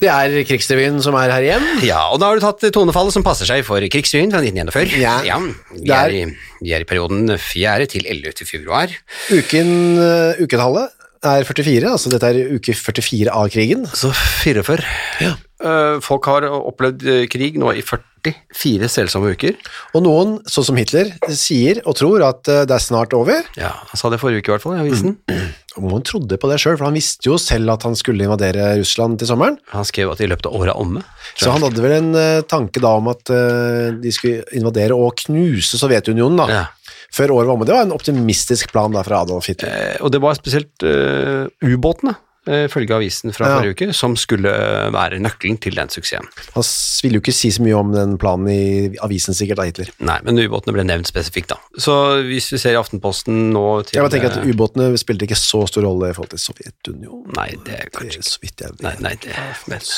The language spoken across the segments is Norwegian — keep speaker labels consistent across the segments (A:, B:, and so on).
A: Det er Krigsrevyen som er her igjen.
B: Ja, og da har du tatt tonefallet som passer seg for Krigsrevyen fra 1941.
A: Ja.
B: vi, er i, vi er i perioden 4. til 11. til februar.
A: Uken, eh, uketallet er 44, altså dette er uke 44 av krigen.
B: Så 44. Eh, Folk har opplevd eh, krig nå i 44 selsomme uker.
A: Og noen, sånn som Hitler, sier og tror at eh, det er snart over.
B: Ja, Mm. Han sa det forrige uke i hvert fall i avisen.
A: Og noen trodde på det sjøl, for han visste jo selv at han skulle invadere Russland til sommeren.
B: Han skrev at i løpet av året er omme.
A: Så han hadde vel en eh, tanke da om at eh, de skulle invadere og knuse Sovjetunionen da,
B: Ja.
A: før året var omme. Det var en optimistisk plan da fra Adolf Hitler.
B: Eh, Og det var spesielt eh, ubåtene, eh, følge avisen fra
A: Ja.
B: forrige uke, som skulle eh, være nøkkelen til den suksessen.
A: Han s- ville jo ikke si så mye om den planen i avisen sikkert da, Hitler.
B: Nei, men ubåtene ble nevnt spesifikt, da. Så hvis vi ser i Aftenposten nå til
A: Jeg bare tenker at
B: eh,
A: ubåtene spilte ikke så stor rolle i forhold til Sovjetunionen.
B: Nei, det er kanskje
A: Det er så vidt jeg vet.
B: Nei, nei det, men,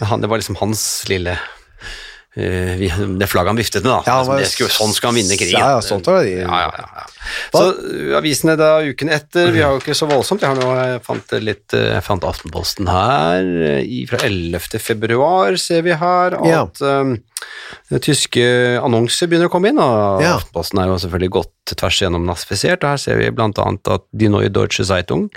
B: men han, det var liksom hans lille eh, vi, Det flagget han viftet med, da.
A: Ja, han var-
B: det skulle, sånn skal han vinne krigen.
A: Ja, ja, stolt av de-
B: Ja, ja, ja, ja. Så uh, avisene da uken etter Vi har jo ikke så voldsomt. Jeg, har nå, jeg, fant, det litt, eh, jeg fant Aftenposten her. eh, I, fra 11. februar ser vi her at
A: Ja.
B: eh, det Tyske annonser begynner å komme inn, og
A: Ja.
B: Aftenposten er jo selvfølgelig godt tvers igjennom nassifisert. og Her ser vi bl.a. at Die Neue Deutsche Zeitung,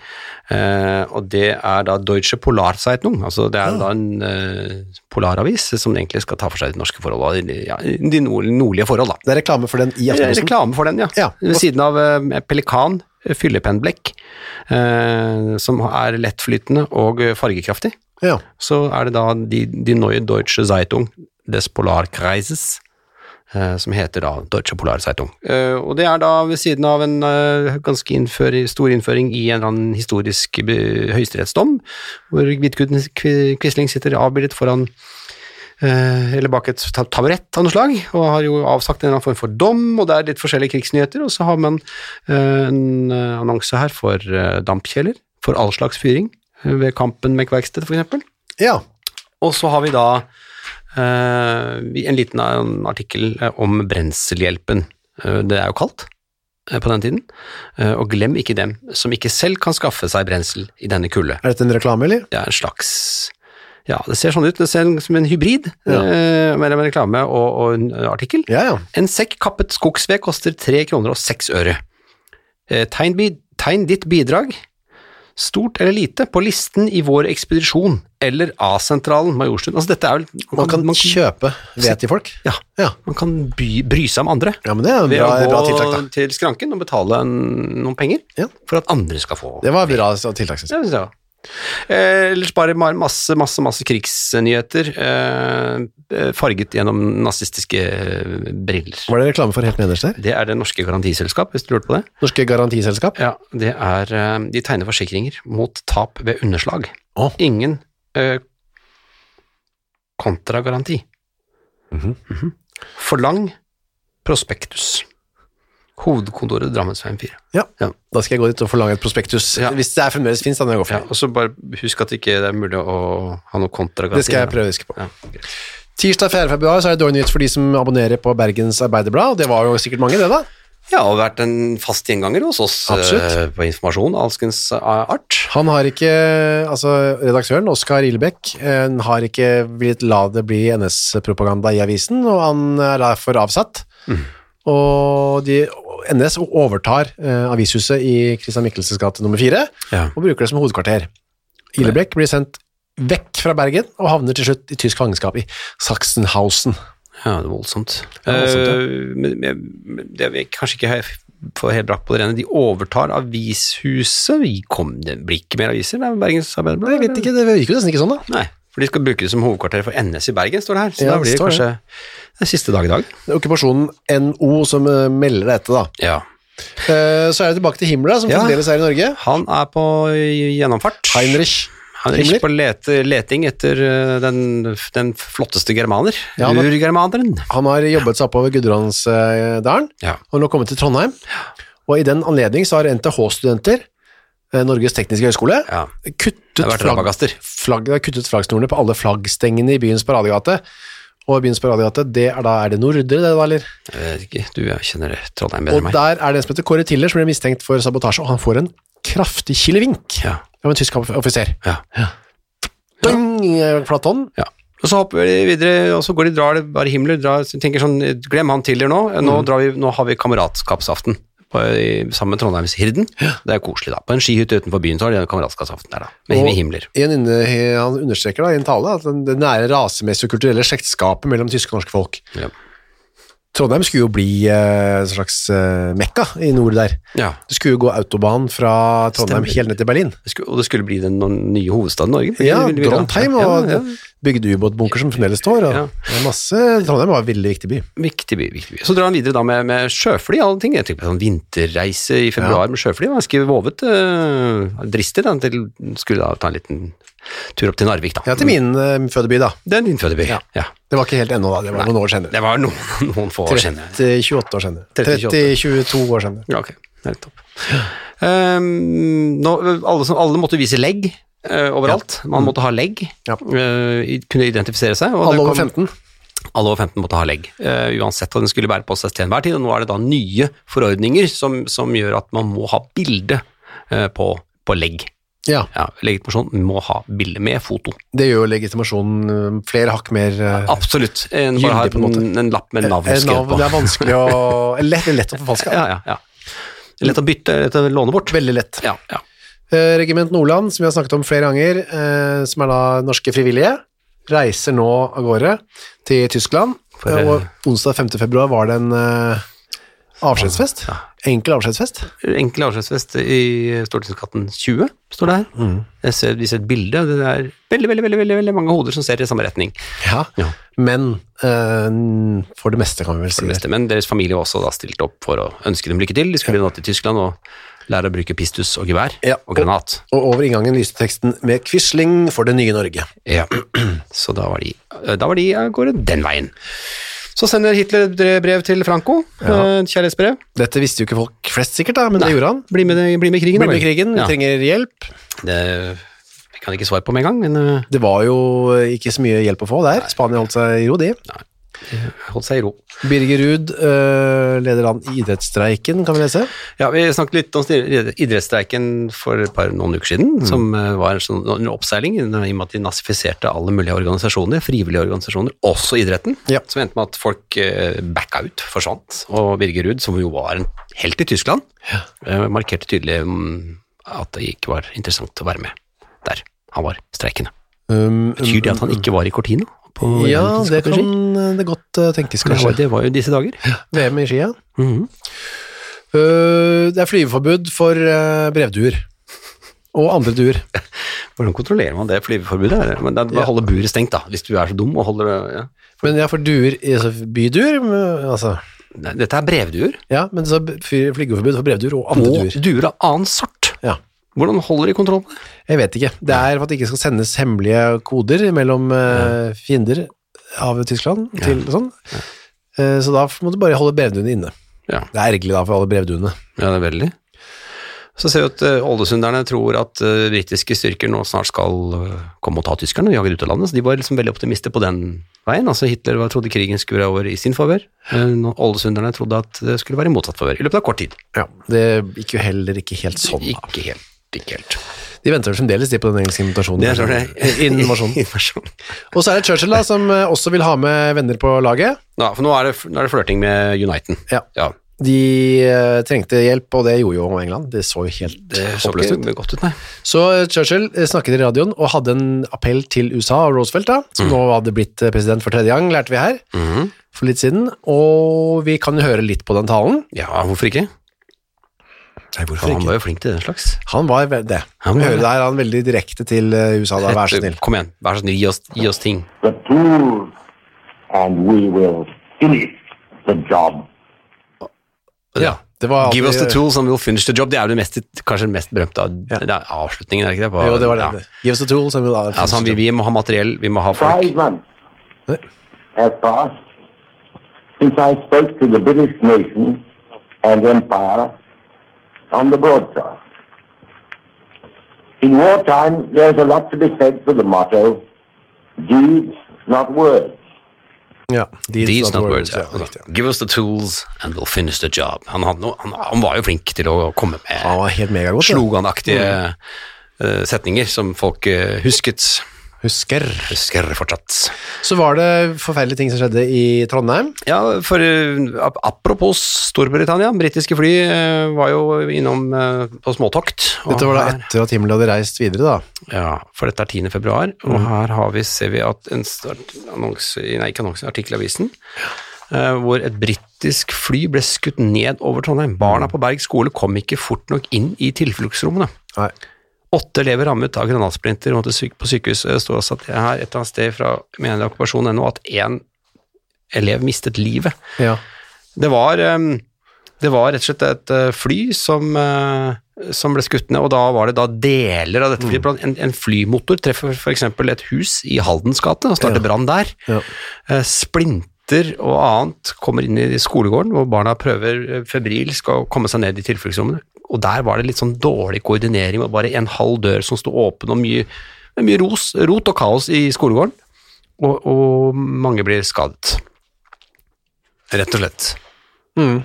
B: eh, og det er da Deutsche Polarzeitung, altså det er da en eh, polaravis som egentlig skal ta for seg de norske forhold, og de- ja, de nord- nordlige forhold, da.
A: Det er reklame for den i
B: Det er
A: Aftenposten.
B: Reklame for den, ja.
A: Ja.
B: Ved siden av eh, Pelikan eh, fyllepennblekk, eh, som er lettflytende og eh, fargekraftig.
A: Ja.
B: Så er det da de, de Neue Deutsche Zeitung des Polarkreises, eh, som heter da Deutsche Polarzeitung. Eh, og det er da ved siden av en eh, ganske innføri- stor innføring i en eller annen historisk be- høyesterettsdom, hvor Vidkun Qui- Quisling sitter avbildet foran eh, eller bak et ta- taburett av noe slag, og har jo avsagt en eller annen form for dom, og det er litt forskjellige krigsnyheter, og så har man eh, en eh, annonse her for eh, dampkjeler, for all slags fyring, eh, ved kampen med Kverksted for eksempel.
A: ja.
B: Og så har vi da eh, en liten eh, artikkel eh, om brenselhjelpen. Eh, det er jo kaldt eh, på den tiden. Eh, og glem ikke dem som ikke selv kan skaffe seg brensel i denne kulde.
A: Er dette en reklame, eller?
B: Det er en slags Ja, det ser sånn ut. Det ser ut som en hybrid
A: Ja.
B: eh, mellom en reklame og, og en eh, artikkel.
A: Ja, ja.
B: En sekk kappet skogsved koster tre kroner og seks øre. Eh, Tegn, bi- tegn ditt bidrag, stort eller lite, på listen i vår ekspedisjon eller A-sentralen Majorstuen. Altså, dette er vel
A: Man kan kjøpe ved til folk.
B: Ja,
A: Ja.
B: man kan by, bry seg om andre.
A: Ja, men det er en
B: Ved
A: bra,
B: å
A: bra
B: gå
A: tiltak, da.
B: til skranken og betale en, noen penger
A: Ja.
B: for at andre skal få
A: Det var et bra tiltak, synes jeg.
B: Ja, det synes jeg også. Eh, ellers bare ma- masse, masse, masse krigsnyheter eh, eh, farget gjennom nazistiske eh, briller.
A: Var det reklame for helt nederst der?
B: Det er det norske garantiselskap, hvis du lurte på det.
A: Norske Garantiselskap?
B: Ja, det er eh, De tegner forsikringer mot tap ved underslag.
A: Å.
B: Ingen eh, kontragaranti.
A: Mhm.
B: Mhm. Forlang prospektus. Hovedkontoret Drammensveien 4.
A: Da skal jeg gå dit og forlange et prospektus.
B: Ja.
A: Hvis det er fremdeles finnes, da når jeg går for
B: Ja, og så bare husk at det ikke er mulig å ha noe kontragaranti.
A: Det skal jeg prøve å huske på.
B: Ja, greit.
A: Tirsdag 4. februar så er det dårlig nyhet for de som abonnerer på Bergens Arbeiderblad. og Det var jo sikkert mange, det da.
B: ja og vært en fast gjenganger hos oss eh,
A: Absolutt.
B: på informasjon, alskens eh, art.
A: Han har ikke, altså redaktøren Oskar Ilbekk, eh, har ikke villet la det bli NS-propaganda i avisen, og han er derfor avsatt.
B: Mm.
A: Og de, NS overtar eh, avishuset i Christian Mikkelsens gate nummer 4,
B: Ja.
A: og bruker det som hovedkvarter. Ilbekk blir sendt vekk fra Bergen, og havner til slutt i tysk fangenskap i Sachsenhausen.
B: Ja, det er voldsomt.
A: Ja, voldsomt, ja.
B: Eh, men, men, men det er kanskje ikke he- for helt brakt på det rene. De overtar avishuset. Vi kom, det blir ikke mer aviser, det er Bergens Arbeiderblad.
A: Jeg vet ikke, det virker jo nesten ikke sånn da.
B: eller? Nei, for de skal bruke det som hovedkvarter for NS i Bergen, står det her. Så
A: Ja,
B: da blir
A: det
B: det
A: står det.
B: kanskje det er siste dag i dag.
A: Det er okkupasjonen NO som eh, melder dette da.
B: Ja.
A: Eh, Så er det tilbake til Himmler, som
B: Ja.
A: fremdeles er i Norge.
B: Han er på gjennomfart.
A: Heinrich
B: Han er
A: Himmler?
B: ikke på lete, leting etter eh, den, den flotteste germaner.
A: Ja, han er-
B: Urgermaneren.
A: Han har jobbet seg oppover Gudbrandsdalen,
B: Ja.
A: og nå kommet til Trondheim. Og i den anledning så har NTH-studenter, eh, Norges tekniske høgskole,
B: ja. Det
A: kuttet,
B: har vært
A: flagg,
B: rabagaster.
A: flagg, de har kuttet flaggsnorene på alle flaggstengene i byens paradegate. Og byens paradegate, det er da er det Nordre, det da, eller?
B: Jeg vet ikke, du kjenner Trondheim bedre
A: Og
B: enn meg.
A: der er det en som heter Kåre Tiller, som blir mistenkt for sabotasje, og han får en kraftig kilevink
B: Ja,
A: av en tysk offiser.
B: ja.
A: Dang! eh, Flatt hånd.
B: Ja. Og så hopper de videre, og så går de drar det bare Himmler. Drar, tenker sånn, glem han tidligere nå. Nå,
A: Mm.
B: drar vi, nå har vi kameratskapsaften på, i, sammen med Trondheimshirden. Det er koselig, da. På en skihytte utenfor byen så har de den kameratskapsaften der, da. Med,
A: Og-
B: med Himmler.
A: I en inne, han understreker da, i en tale at den- det nære rasemessige og kulturelle slektskapet mellom tyske og norske folk.
B: Ja.
A: Trondheim skulle jo bli eh, en slags eh, mekka i nord der.
B: ja.
A: Det skulle jo gå autobahn fra Trondheim
B: Stemmer.
A: helt ned til Berlin.
B: Det skulle, og det skulle bli den nye hovedstaden i Norge.
A: Ja,
B: Ville vi da.
A: Trondheim
B: Ja,
A: og
B: ja.
A: bygde ubåtbunker som fremdeles står. Og
B: Ja.
A: det er masse, Trondheim var en veldig viktig by.
B: Viktig by, viktig by. Så drar han videre da med, med sjøfly og alle ting. Jeg tenker på sånn vinterreise i februar med sjøfly. Det var Ganske vovet. øh, dristig, da. Til, skulle da ta en liten tur opp til Narvik, da.
A: Ja, til min eh, fødeby da.
B: Det er din fødeby. Ja.
A: Det var ikke helt ennå da, det var noen år senere.
B: Det var noen, noen få år senere.
A: 30, 28 år senere.
B: 30,
A: 30-22 år senere.
B: Ja, ok. Nettopp. Um, nå, alle, som, alle måtte vise legg eh, overalt. Man måtte ha legg.
A: Mm. Ja.
B: eh, i- kunne identifisere seg. og det
A: Alle over
B: kom-
A: 15.
B: Alle over 15 måtte ha legg, eh, uansett hva den skulle bære på seg til enhver tid. Og nå er det da nye forordninger som, som gjør at man må ha bilde eh, på, på legg.
A: Ja,
B: Ja, Legitimasjon må ha bilde med foto.
A: det gjør jo legitimasjonen eh, flere hakk mer eh,
B: Absolutt. En,
A: Gyldig
B: bare ha
A: på en måte.
B: en, en lapp med
A: eh,
B: navn skrevet
A: navn.
B: på.
A: Det er vanskelig å eller lett, lett å forfalske.
B: Ja, ja, ja. Lett å bytte, lett å låne bort.
A: Veldig lett.
B: Ja, ja.
A: Eh, Regiment Nordland, som vi har snakket om flere ganger, eh, som er da norske frivillige, reiser nå av gårde til Tyskland.
B: For,
A: Eh, og onsdag 5. februar var det en eh, avskjedsfest.
B: Ja.
A: Enkel avskjedsfest.
B: Enkel avskjedsfest i Stortingsgaten 20, står det her.
A: Mm.
B: Jeg ser, vi ser et bilde, og det er veldig, veldig, veldig, veldig, veldig mange hoder som ser i samme retning.
A: Ja.
B: Ja.
A: Men eh, for det meste, kan vi vel si.
B: Det beste. Men deres familie var også da stilt opp for å ønske dem lykke til. De skulle nå til Tyskland og lære å bruke pistus og gevær
A: Ja.
B: og granat.
A: Og over inngangen lyste teksten med Quisling for det nye Norge.
B: Ja. Så da var de da var de av gårde den veien. Så sender Hitler et brev til Franco, eh, kjærlighetsbrev.
A: Dette visste jo ikke folk flest sikkert, da, men det gjorde han.
B: Bli med, bli med i krigen.
A: Bli
B: da,
A: med i
B: vel?
A: krigen, vi
B: Ja.
A: trenger hjelp.
B: Det jeg kan jeg ikke svare på med en gang, men eh,
A: Det var jo eh, ikke så mye hjelp å få der. Spania holdt seg i ro, de.
B: holdt seg i ro.
A: Birger Ruud øh, leder an i idrettsstreiken, kan vi lese.
B: Ja, Vi snakket litt om idrettsstreiken for et par, noen uker
A: Mm.
B: siden, som eh, var en sånn en oppseiling i og med at de nazifiserte alle mulige organisasjoner, frivillige organisasjoner, også idretten.
A: Ja.
B: Som endte med at folk eh, backa ut, forsvant. Og Birger Ruud, som jo var en helt i Tyskland, eh, markerte tydelig mm, at det ikke var interessant å være med der. Han var streikende.
A: Um,
B: Betyr det at han ikke var i Cortina? På
A: Ja,
B: Olympiske
A: det
B: ski?
A: kan øh, det godt øh, tenkes,
B: Det var,
A: kanskje.
B: det var jo disse dager.
A: VM i skia.
B: Mhm.
A: Øh, det er flyveforbud for øh, brevduer. Og andre duer.
B: Hvordan kontrollerer man det flyveforbudet? Er det- Men det er bare å holde buret stengt, da, hvis du er så dum og holder det ja.
A: Men ja, for duer altså, Byduer, men, altså.
B: Nei, Dette er brevduer.
A: Ja, men så fly- flyveforbud for brevduer og andre
B: og
A: duer.
B: duer av annen sort.
A: Ja.
B: Hvordan holder de kontroll på det?
A: Jeg vet ikke. Det er for at det ikke skal sendes hemmelige koder mellom øh, fiender av Tyskland til sånn. Eh, så da må du bare holde brevduene inne.
B: Ja,
A: Det er ergerlig da for alle brevduene.
B: det er veldig. Så ser vi at eh, ålesunderne tror at eh, britiske styrker nå snart skal eh, komme og ta tyskerne og jage dem ut av landet, så de var liksom veldig optimister på den veien. Altså Hitler var, trodde krigen skulle være over i sin favør, men ålesunderne trodde at det skulle være i motsatt favør i løpet av kort tid.
A: Ja, det gikk jo heller ikke helt sånn. da.
B: Ikke helt. Ikke helt.
A: De venter vel fremdeles de på den engelske invitasjonen.
B: Det er sånn det
A: Invasjonen.
B: Invasjon.
A: Og så er det Churchill da, som eh, også vil ha med venner på laget.
B: Ja, for nå er det, nå er det flørting med Uniten.
A: Ja.
B: Ja,
A: De eh, trengte hjelp, og det gjorde jo England. Det så jo helt eh,
B: det så
A: håpløst ut.
B: ikke godt ut, nei.
A: Så eh, Churchill eh, snakket i radioen og hadde en appell til USA og Roosevelt, da,
B: Mm.
A: som nå hadde blitt eh, president for tredje gang, lærte vi her for litt siden. Og vi kan jo høre litt på den talen.
B: Ja, hvorfor ikke?
A: Nei,
B: For han var jo flink til den slags.
A: Han var ve- det.
B: Han
A: Vi
B: var
A: hører
B: det.
A: det her, han er veldig direkte til eh, USA, da, vær så snill.
B: Kom igjen, vær så snill, gi oss, gi oss ting.
C: the tools, and we will finish the job.
A: Ja, Det var
B: Give us the
A: alltid-
B: tools and we'll finish the job. Det er jo det mest, kanskje den mest berømte av
A: Ja.
B: det er avslutningen, er det ikke det? På-
A: Jo, det var det.
B: Ja.
A: Give us the tools and we'll
B: Altså, han, vi, vi må ha materiell, vi må ha folk.
C: Five months
A: Huh?
C: have passed since I spoke to the British nation and empire on the broadcast. In wartime, there's a lot to be said for the motto, deeds, not words.
A: Ja, deeds,
B: These not words.
A: Ja,
B: ja.
A: riktig.
B: Give us the tools and we'll finish the job. Han, hadde noe, han, han var jo flink til å komme
A: Han
B: med
A: var helt megagod. ja.
B: sloganaktige eh, setninger som folk eh, husket.
A: Husker.
B: Husker fortsatt.
A: Så var det forferdelige ting som skjedde i Trondheim.
B: Ja, for eh, ap- apropos Storbritannia, britiske fly eh, var jo innom eh, på småtokt. og
A: Dette var da
B: her-
A: etter at himmelen hadde reist videre, da.
B: Ja, for dette er 10. februar, og
A: Mm.
B: her har vi, ser vi at en start- annonse, nei, ikke annonse, artikkel i avisen, eh, hvor et brittisk fly ble skutt ned over Trondheim. Barna
A: Mm.
B: på Berg skole kom ikke fort nok inn i tilfluktsrommene.
A: Nei.
B: Åtte elever rammet av granatsplinter og måtte syk på sykehus. Det står også at det her et eller annet sted fra mener jeg, okkupasjon.no at én elev mistet livet.
A: Ja.
B: Det var, ehm, det var rett og slett et eh, fly som, eh, som ble skutt ned, og da var det da deler av dette flyet. blant- En, en flymotor treffer f.eks. et hus i Haldens gate og starter brann der.
A: Ja.
B: Eh, Splinter og annet kommer inn i skolegården, hvor barna prøver eh, febrilsk å komme seg ned i tilfluktsrommene. Og der var det litt sånn dårlig koordinering, og bare en halv dør som sto åpen, og mye, mye ros, rot og kaos i skolegården. Og, og mange blir skadet. Rett og slett.
A: Mm.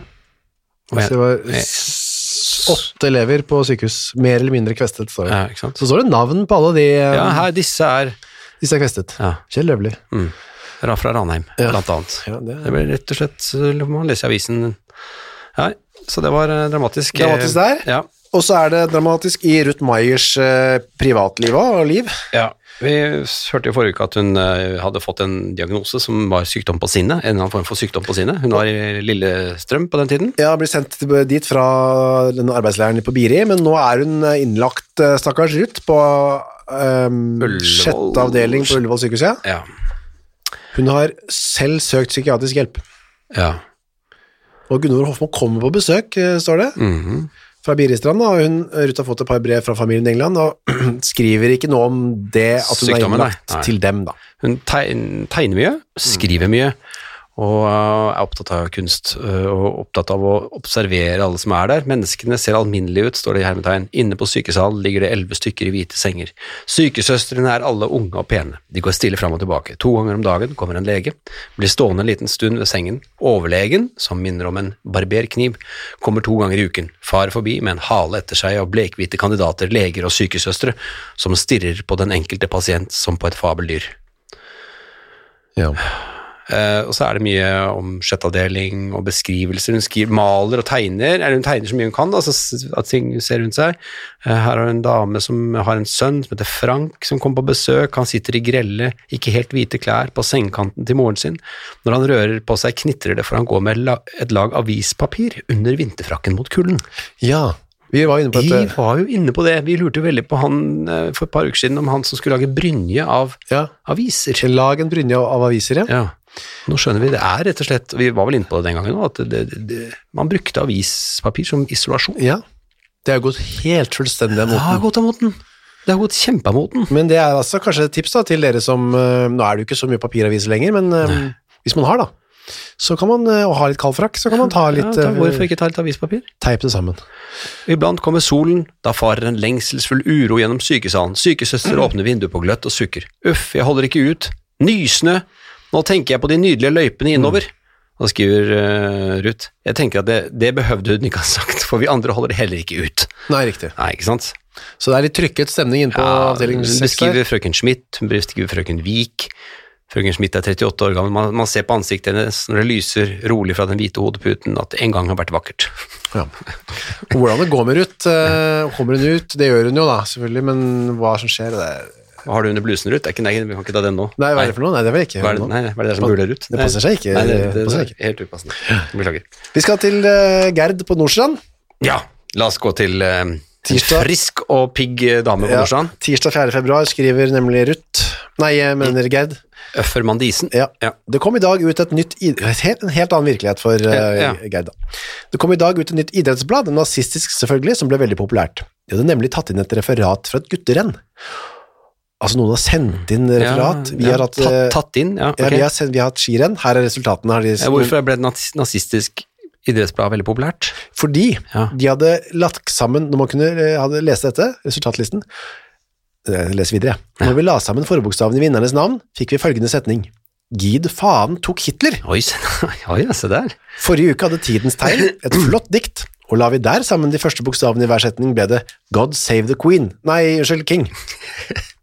A: Så det var s- åtte elever på sykehus, mer eller mindre kvestet. står det.
B: Ja, ikke sant?
A: Så står det navn på alle de eh,
B: Ja, her, disse er
A: disse er kvestet.
B: Ja.
A: Kjell Løvli.
B: ra- fra Ranheim,
A: Ja.
B: blant annet.
A: Ja, det
B: Det
A: er
B: ble rett og slett eller må Man leser i avisen ja, Så det var eh, dramatisk. eh,
A: dramatisk der.
B: Ja.
A: Og så er det dramatisk i Ruth Meyers eh, privatliv også, og liv.
B: ja. Vi s- hørte i forrige uke at hun eh, hadde fått en diagnose som var sykdom på sinnet. En eller annen form for sykdom på sinnet. Hun var i Lillestrøm på den tiden.
A: Ja, ble sendt dit fra denne arbeidsleiren på Biri, men nå er hun eh, innlagt, eh, stakkars Ruth, på ehm,
B: Ullevål.
A: sjette avdeling på Ullevål sykehus. Ja.
B: Ja.
A: Hun har selv søkt psykiatrisk hjelp.
B: ja.
A: Og Gunvor Hofmo kommer på besøk, eh, står det,
B: Mhm.
A: fra Biristrand. da, Og hun, Ruth har fått et par brev fra familien i England, og skriver ikke noe om det at hun
B: Sykdommen,
A: er
B: nei.
A: innlagt
B: Nei.
A: til dem, da.
B: Hun tegn- tegner mye, skriver mye, og øh, er opptatt av kunst. øh, Og opptatt av å observere alle som er der. Menneskene ser alminnelige ut, står det i hermetegn. Inne på sykesalen ligger det elleve stykker i hvite senger. Sykesøstrene er alle unge og pene. De går stille fram og tilbake. To ganger om dagen kommer en lege. Blir stående en liten stund ved sengen. Overlegen, som minner om en barberkniv, kommer to ganger i uken. Far forbi med en hale etter seg av blekhvite kandidater, leger og sykesøstre, som stirrer på den enkelte pasient som på et fabeldyr. Eh, og så er det mye om sjettavdeling og beskrivelser. Hun skriver, maler og tegner, eller hun tegner så mye hun kan, da, så s- at ting ser rundt seg. Eh, her har hun en dame som har en sønn som heter Frank, som kommer på besøk. Han sitter i grelle, ikke helt hvite klær, på sengekanten til moren sin. Når han rører på seg, knitrer det, for han går med la et lag avispapir under vinterfrakken mot kulden.
A: Ja, vi var inne på
B: Vi
A: dette.
B: var jo inne på det. Vi lurte jo veldig på han eh, for et par uker siden om han som skulle lage brynje av
A: Ja.
B: aviser.
A: Lag en brynje av- av aviser, ja.
B: Ja. Nå skjønner vi, det er rett og slett, vi var vel inne på det den gangen nå, at det, det, det, man brukte avispapir som isolasjon.
A: Ja. Det har gått helt fullstendig av
B: Det har
A: moten.
B: gått av moten. Det har gått kjempe av moten.
A: Men det er altså kanskje et tips da, til dere som eh, Nå er det jo ikke så mye papiraviser lenger, men eh, hvis man har, da, så kan man, eh, og har litt kald frakk, så kan man ta litt
B: ja, da,
A: eh,
B: hvorfor ikke ta litt avispapir?
A: Teip det sammen.
B: Iblant kommer solen, da farer en lengselsfull uro gjennom sykesalen. Sykesøster åpner vinduet på gløtt og sukker. Uff, jeg holder ikke ut. Nysnø! Nå tenker jeg på de nydelige løypene innover. Da skriver eh, Ruth. Jeg tenker at det, det behøvde hun ikke ha sagt, for vi andre holder heller ikke ut.
A: Nei, riktig.
B: Nei, ikke sant?
A: Så det er litt trykket stemning inne på avdeling
B: hun
A: 6
B: beskriver frøken Schmidt, hun beskriver frøken Vik. Frøken Schmidt er 38 år gammel. Man, man ser på ansiktet hennes når det lyser rolig fra den hvite hodeputen at det en gang har vært vakkert.
A: Ja. Og Hvordan det går med Ruth. eh, Kommer hun ut? Det gjør hun jo, da, selvfølgelig, men hva som skjer det er...
B: Hva har du under blusen, Ruth? Det er ikke- Nei, vi kan ikke ta den nå.
A: Nei, hva er det for noe? Nei, det er vel ikke
B: Hva er det,
A: noe.
B: nei, hva er det der som buler ut?
A: Det passer seg ikke,
B: Nei, det,
A: det
B: det,
A: passer
B: det er helt upassende. Beklager.
A: Vi skal til eh, Gerd på Nordstrand.
B: Ja, la oss gå til eh,
A: Tirsdag.
B: frisk og pigg dame på
A: Ja,
B: Nordstrand.
A: tirsdag 4. februar skriver nemlig Ruth Nei, jeg mener Gerd.
B: Øffermandisen.
A: Ja.
B: Ja.
A: Det kom i dag ut et nytt id- et helt- En helt annen virkelighet for eh,
B: ja.
A: Geir, da. Det kom i dag ut et nytt idrettsblad, nazistisk selvfølgelig, som ble veldig populært. De hadde nemlig tatt inn et referat fra et gutterenn. Altså, noen har sendt inn referat.
B: Ja,
A: vi,
B: ja.
A: har hatt,
B: tatt,
A: eh,
B: tatt inn, ja.
A: ja,
B: ok.
A: vi, har sendt, vi har hatt skirenn. Her er resultatene. Har de,
B: Ja, Hvorfor ble naz- nazistisk idrettsblad veldig populært?
A: Fordi
B: Ja.
A: de hadde lagt sammen, når man kunne eh, hadde lese dette, resultatlisten, eh, les videre, jeg. når vi la sammen forbokstaven i vinnernes navn, fikk vi følgende setning. Gid faen tok Hitler.
B: Oi, se, ja, ja, se der.
A: Forrige uke hadde Tidens Tegn et flott dikt, og la vi der sammen de første bokstavene i hver setning, ble det God save the Queen. Nei, unnskyld, King.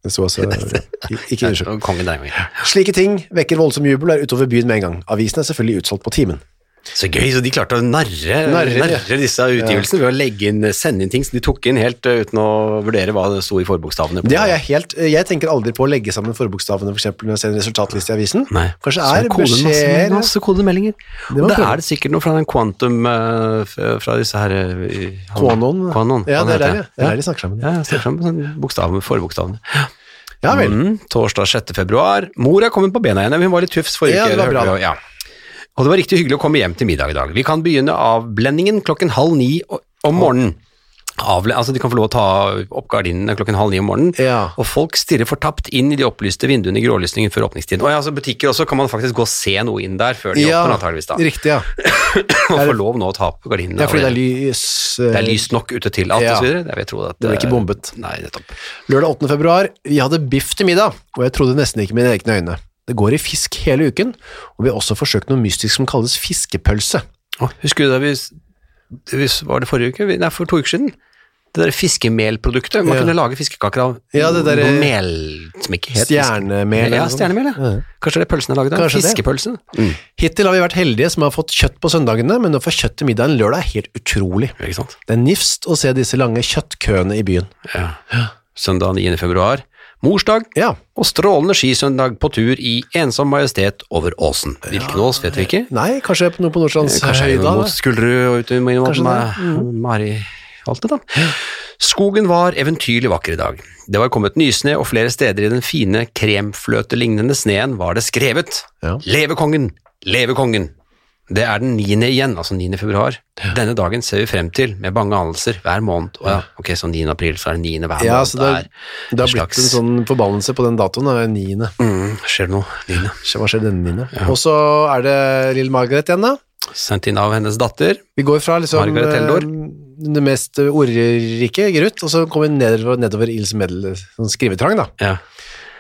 A: Det så også Ikke unnskyld.
B: Ja, Kongen der, ja.
A: Slike ting vekker voldsom jubel og er utover byen med en gang. Avisen er selvfølgelig utsolgt på timen.
B: Så gøy, så de klarte å narre,
A: Narre,
B: narre,
A: ja.
B: disse utgivelsene ved å legge inn, sende inn ting som de tok inn helt eh, uten å vurdere hva det sto i forbokstavene. på.
A: Det har jeg helt Jeg tenker aldri på å legge sammen forbokstavene, f.eks. når jeg ser en resultatliste i avisen.
B: Nei.
A: Kanskje
B: Så
A: er
B: koden masse,
A: beskjeder
B: masse kodemeldinger.
A: må
B: Det, det
A: prøve.
B: er det sikkert noe fra den quantum eh, f- fra disse her eh, i- han-
A: Quanon.
B: Quanon,
A: Ja,
B: han
A: det er
B: heter
A: der, ja. Det er der de snakker sammen.
B: Ja, ja, snakker sammen sånn bokstav- forbokstavene.
A: Ja vel.
B: Mm, torsdag 6. februar. Mor er kommet på bena igjen. Hun var litt tufs forrige
A: Ja,
B: uke.
A: det var
B: hørte
A: bra,
B: vi, ja. Og det var riktig hyggelig å komme hjem til middag i dag. Vi kan begynne avblendingen klokken halv ni o- om morgenen. Avle, altså De kan få lov å ta opp gardinene klokken halv ni om morgenen,
A: Ja.
B: og folk stirrer fortapt inn i de opplyste vinduene i grålysningen før åpningstiden. Og ja, altså Butikker også kan man faktisk gå og se noe inn der før de
A: Ja,
B: åpner, antageligvis da.
A: riktig, ja.
B: Man får lov nå å ta opp gardinene.
A: ja. Fordi det er
B: allerede.
A: lys
B: det er eh, lyst nok ute til alt
A: Ja.
B: og så videre. Jeg vil tro at
A: Det blir ikke bombet.
B: Nei, nettopp.
A: Lørdag 8. februar, vi hadde biff til middag, og jeg trodde nesten ikke mine egne øyne. Det går i fisk hele uken, og vi har også forsøkt noe mystisk som kalles fiskepølse.
B: Å, Husker du da vi, vi Var det forrige uke? Vi- Nei, for to uker siden. Det der fiskemelproduktet. Man
A: Ja.
B: kunne lage fiskekaker av
A: Ja, det der-
B: noe mel som ikke het
A: Stjernemel eller
B: Ja,
A: noe sånt.
B: stjernemel, ja. Kanskje det er pølsen er laget av?
A: Kanskje det.
B: Fiskepølse? Mm.
A: Hittil har vi vært heldige som har fått kjøtt på søndagene, men å få kjøtt til middagen lørdag er helt utrolig.
B: Ikke sant?
A: Det er nifst å se disse lange kjøttkøene i byen.
B: Ja. Søndag 9. februar. Morsdag.
A: Ja,
B: Og strålende skisøndag på tur i ensom majestet over åsen. Hvilken ås, vet vi ikke.
A: nei, kanskje på noe på
B: Eh, Kanskje er det
A: Nordstrandshøyda?
B: noe mot
A: da?
B: Skulderud og ute med
A: Kanskje Mm.
B: med- Mari alt det da. Skogen var eventyrlig vakker i dag. Det var kommet nysnø, og flere steder i den fine kremfløtelignende sneen var det skrevet.
A: Ja.
B: Leve kongen! Leve kongen! Det er den 9. igjen, altså 9. februar. Denne dagen ser vi frem til med bange anelser hver måned. Å ja, ok, så 9. april, så er det 9. hver
A: Ja,
B: måned.
A: så det, er- det har blitt en sånn forbannelse på den datoen, det er niende.
B: mm, Skjer det noe, 9.
A: Hva skjer denne niende? Og så er det Lille Margaret igjen da.
B: Sendt inn av hennes datter.
A: Vi går fra liksom
B: Margaret Eldor.
A: eh, det mest ordrike Grut, og så kommer vi nedover, nedover Ils Medel, sånn skrivetrang da.
B: Ja.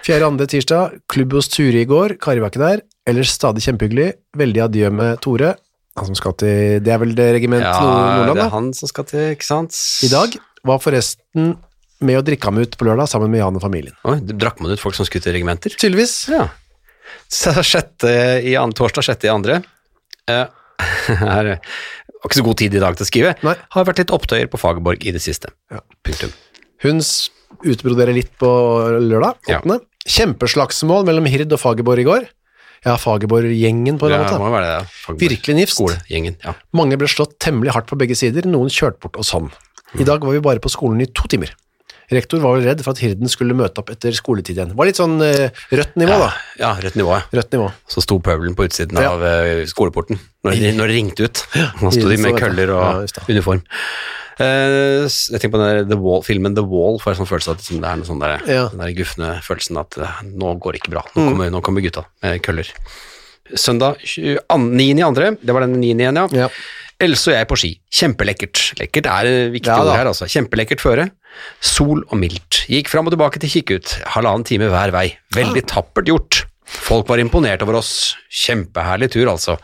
A: 4. andre tirsdag, klubb hos Ture i går, Kari var ikke der, ellers stadig kjempehyggelig, veldig adjø med Tore, han som skal til, det er vel det regiment
B: ja,
A: Nord- Nordland
B: det
A: da.
B: er han som skal til, ikke sant?
A: I dag var forresten med å drikke ham ut på lørdag sammen med Jan og familien.
B: Oi, det drakk man ut folk som skutt i regimenter?
A: Tydeligvis.
B: Ja. Så Sjette i an, torsdag 6. i andre. Eh, her er eh, ikke så god tid i dag til å skrive.
A: Nei.
B: Har vært litt opptøyer på Fagerborg i det siste.
A: Ja.
B: Punktum.
A: Hun s- utbroderer litt på lørdag,
B: Ja.
A: åttende. Kjempeslagsmål mellom Hird og Fagerborg i går. Ja, Fagerborg-gjengen på en
B: Det
A: eller annen måte.
B: må jo være det. ja. Fagerborg.
A: Virkelig nifst.
B: Skolegjengen, ja.
A: Mange ble slått temmelig hardt på begge sider, noen kjørt bort og sånn. I dag var vi bare på skolen i to timer. Rektor var vel redd for at Hirden skulle møte opp etter skoletid igjen. Det var litt sånn eh, rødt nivå,
B: Ja,
A: da.
B: ja, rødt nivå. ja.
A: Rødt nivå.
B: Så sto pøbelen på utsiden
A: Ja.
B: av eh, skoleporten når de, når de ringte ut. Nå sto de
A: Så
B: med
A: vet jeg.
B: køller
A: Ja,
B: og
A: just det.
B: uniform. Eh, s- jeg tenker på den der The Wall, filmen The Wall, får jeg sånn følelse av at det er noe sånn der,
A: Ja. Mm.
B: den der gufne følelsen at eh, nå går det ikke bra. Nå kommer, nå kommer gutta med køller. Søndag 22 9. i andre, det var den 9. igjen, ja.
A: Ja.
B: Else og jeg på ski. Kjempelekkert. Lekkert er et viktig
A: Ja, da.
B: ord her, altså. Kjempelekkert føre. Sol og mildt. Gikk fram og tilbake til kikkut. Halvannen time hver vei. Veldig
A: Ah.
B: tappert gjort. Folk var imponert over oss. Kjempeherlig tur, altså.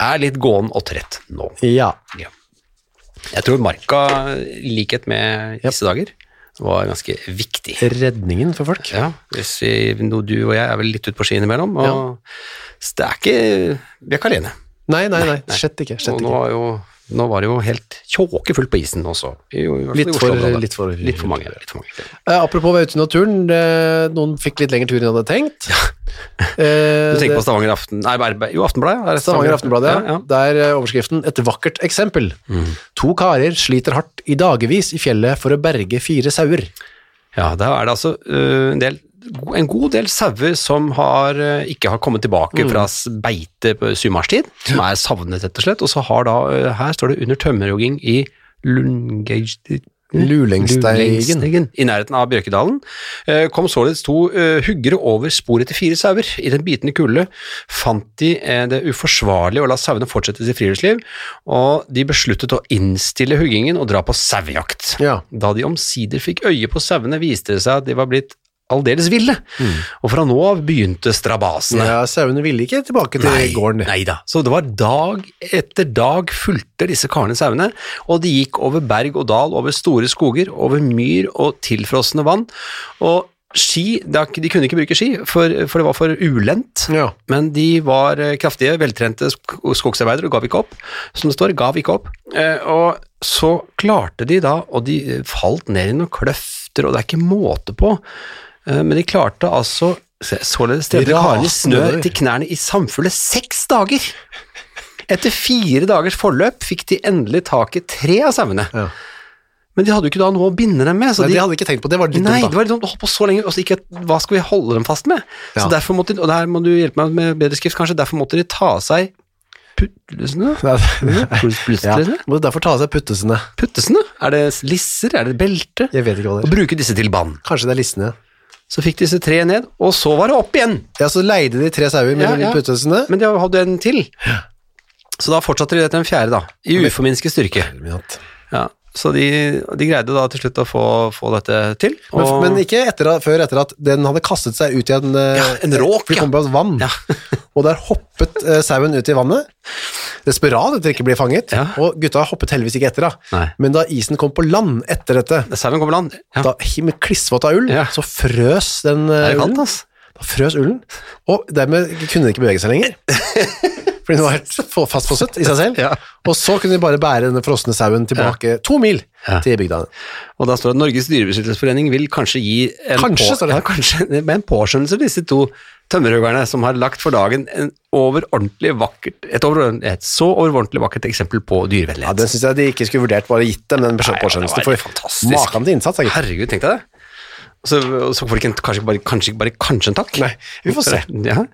B: Er litt gåen og trett nå.
A: ja.
B: Ja. Jeg tror marka, i likhet med disse dager, var ganske viktig.
A: Redningen for folk.
B: Ja, hvis vi, no, du og jeg er vel litt ute på ski innimellom, og så det er ikke Vi er ikke alene.
A: Nei, nei, nei. Slett ikke. Slett
B: Og nå,
A: ikke.
B: er jo, nå var det jo helt tjåkefullt på isen også. I, i hvert fall i
A: Litt for-
B: Oslo-området.
A: litt for-
B: litt for mange. Litt for mange.
A: Eh, apropos å være ute i naturen, eh, noen fikk litt lengre tur enn de hadde tenkt. Eh,
B: Du
A: det-
B: tenker på Stavanger Aften... Nei, Berbe- jo, Aftenbladet. er det
A: Stavanger Aftenblad, ja.
B: ja. Mm.
A: Der er overskriften 'Et vakkert eksempel'. To karer sliter hardt i dagevis i fjellet for å berge fire sauer.
B: Ja, da er det altså øh, en del en god del sauer som har, eh, ikke har kommet tilbake fra s- beite på sommerstid, som er savnet, rett og slett. Og så har da eh, Her står det under tømmerhogging i Lundgeid...
A: Lulengsteigen.
B: Lulengsteigen, I nærheten av Bjørkedalen eh, kom således to eh, huggere over sporet til fire sauer. I den bitende kulde fant de eh, det uforsvarlig å la sauene fortsette sitt friluftsliv, og de besluttet å innstille huggingen og dra på sauejakt.
A: Ja.
B: Da de omsider fikk øye på sauene, viste det seg at de var blitt aldeles ville, og fra nå av begynte strabasene.
A: Ja, sauene ville ikke tilbake til gården.
B: Nei da. Så det var dag etter dag fulgte disse karene sauene, og de gikk over berg og dal, over store skoger, over myr og tilfrosne vann. Og ski det er ikke- De kunne ikke bruke ski, for, for det var for ulendt.
A: Ja.
B: Men de var eh, kraftige, veltrente sk- skogsarbeidere og gav ikke opp. Som det står, gav ikke opp. Eh, Og så klarte de da, og de eh, falt ned i noen kløfter, og det er ikke måte på. Eh, Men de klarte altså se- således
A: De
B: tredje karene i
A: raste
B: snø
A: nedover.
B: til knærne i samfulle seks dager. Etter fire dagers forløp fikk de endelig tak i tre av sauene.
A: Ja.
B: Men de hadde jo ikke da noe å binde dem med. Så
A: Nei,
B: de,
A: det hadde jeg ikke tenkt på, det var litt
B: Nei,
A: dumt,
B: det
A: da.
B: var liksom, holdt på så lenge, og så ikke, hva skal vi holde dem fast med?
A: Ja.
B: Så derfor måtte, og der må du hjelpe meg med bedre skrift, kanskje, derfor måtte de ta av seg puttesene?
A: Nei.
B: Mm.
A: Ja.
B: Puttesene?
A: Må derfor ta av seg puttesene.
B: Puttesene? Er det lisser? Er det belte?
A: Jeg vet ikke hva
B: Og
A: det er.
B: bruke disse til bånd.
A: Kanskje det er lissene.
B: Så fikk disse tre ned, og så var det opp igjen.
A: Ja, så leide de tre sauer med
B: Ja, ja.
A: puttesene.
B: Men de hadde en til. Så da fortsatte de til en fjerde, da. I uforminsket styrke.
A: Terminant.
B: Ja. Så de, de greide da til slutt å få, få dette til.
A: Men,
B: og-
A: men ikke etter, at- før etter at den hadde kastet seg ut i en, eh,
B: Ja, en råk,
A: for det kom på et vann.
B: Ja.
A: Og der hoppet eh, sauen ut i vannet, desperat etter ikke å bli fanget,
B: Ja.
A: og gutta hoppet heldigvis ikke etter da.
B: Nei.
A: Men da isen kom på land etter dette,
B: Sauen kom i land. Ja.
A: da, med klissvått av ull,
B: Ja.
A: så frøs den
B: det
A: eh,
B: er kaldt,
A: ullen.
B: ass.
A: Da frøs ullen, og dermed kunne den ikke bevege seg lenger. Fordi den var helt f- fastfrosset i seg selv.
B: Ja.
A: Og så kunne de bare bære denne frosne sauen tilbake to mil
B: Ja.
A: til bygda.
B: Og da står det at Norges dyrebeskyttelsesforening vil kanskje gi en,
A: Kanskje, står det.
B: ja, kanskje, med en påskjønnelse til disse to tømmerhuggerne som har lagt for dagen en overordentlig vakkert, et, over, et så overordentlig vakkert eksempel på
A: Ja,
B: dyreveldedighet.
A: den synes jeg de ikke skulle vurdert, bare gitt dem den beskjed-
B: Nei, ja, det
A: påskjønnelsen.
B: var
A: for
B: fantastisk.
A: Maken til innsats, egentlig.
B: Herregud, tenk deg det. Og Så, og så får de ikke en, kanskje, bare, kanskje bare kanskje en takk.
A: Nei, vi får se.
B: Ja.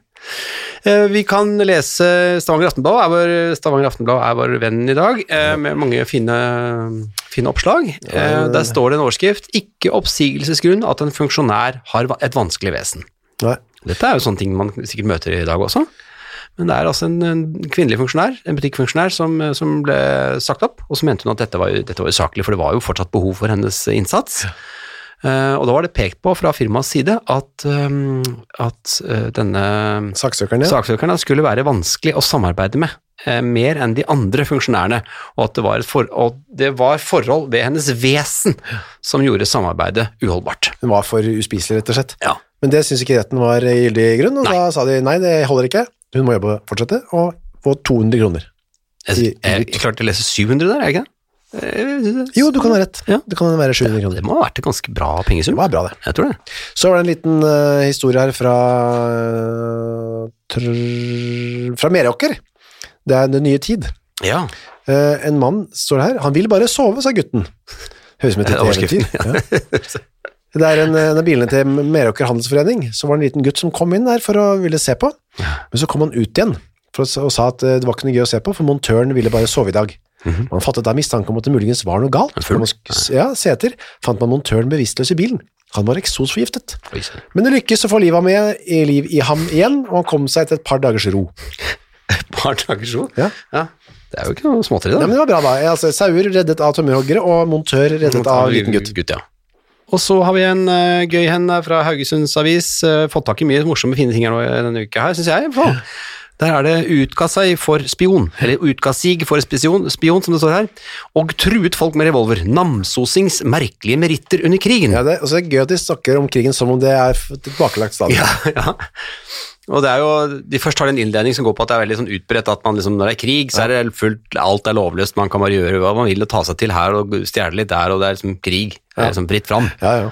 B: Eh, Vi kan lese Stavanger Aftenblad, er vår, Stavanger Aftenblad er vår venn i dag, eh, med mange fine, fine oppslag. Eh, Der står det en overskrift 'Ikke oppsigelsesgrunn at en funksjonær har va- et vanskelig vesen'.
A: Nei.
B: Dette er jo sånne ting man sikkert møter i dag også. Men det er altså en, en kvinnelig funksjonær, en butikkfunksjonær, som, som ble sagt opp, og så mente hun at dette var, jo- dette var usaklig, for det var jo fortsatt behov for hennes innsats. Eh, og da var det pekt på fra firmaets side at, um, at eh, denne
A: Saksøkeren, ja.
B: saksøkerne skulle være vanskelig å samarbeide med, eh, mer enn de andre funksjonærene, og at det var, et for, og det var forhold ved hennes vesen som gjorde samarbeidet uholdbart.
A: Den var for uspiselig, rett og slett.
B: Ja.
A: Men det syns ikke retten var gyldig grunn, og da sa de nei, det holder ikke. Hun må jobbe fortsette, og få 200 kroner.
B: Jeg, jeg, jeg klarte å lese 700 der, er jeg ikke det? Eh,
A: Jo, du kan ha rett.
B: Ja.
A: Det kan være 700 kroner.
B: Det må ha vært et ganske bra
A: Det
B: pengesum.
A: var bra, det.
B: Jeg tror det.
A: Så var det en liten eh, historie her fra eh, tr fra Meråker. Det er Den nye tid.
B: Ja.
A: Eh, en mann står det her. Han vil bare sove, sa gutten. Høres ut som et
B: Det er overskriften,
A: eventyr. Ja. Det er en, en av bilene til Meråker handelsforening. Så var det en liten gutt som kom inn der for å ville se på. Men så kom han ut igjen for å, s- og sa at eh, det var ikke noe gøy å se på, for montøren ville bare sove i dag. Man fattet da mistanke om at det muligens var noe galt.
B: full?
A: Når man sk- s- Ja, se etter. Fant man montøren bevisstløs i bilen. Han var eksosforgiftet. Men det lykkes å få livet av med i liv i ham igjen, og han kom seg til et par dagers ro.
B: Et par dagers ro.
A: Ja.
B: Det er jo ikke noe småtteri,
A: Ja,
B: da.
A: men det var bra, da. Altså, sauer reddet av tømmerhoggere, og montør reddet av en liten gutt.
B: ja. Og så har vi en eh, gøy hen her fra Haugesunds Avis. eh, fått tak i mye morsomme, fine ting her nå, eh, denne uka her, syns jeg. i hvert fall. Der er det 'utga seg for spion', eller 'utga sig for spion', spion, som det står her. Og truet folk med revolver. Namsosings merkelige meritter under krigen.
A: Ja, det, og så er det gøy at de snakker om krigen som om det er f- tilbakelagt stadium.
B: Ja, ja. Og det er jo, de Først har det en innledning som går på at det er veldig sånn utbredt at man liksom, når det er krig, så er det fullt, alt er lovløst, man kan bare gjøre hva man vil og ta seg til her og stjele litt der, og det er liksom krig. Det er liksom fritt fram.
A: Ja, ja.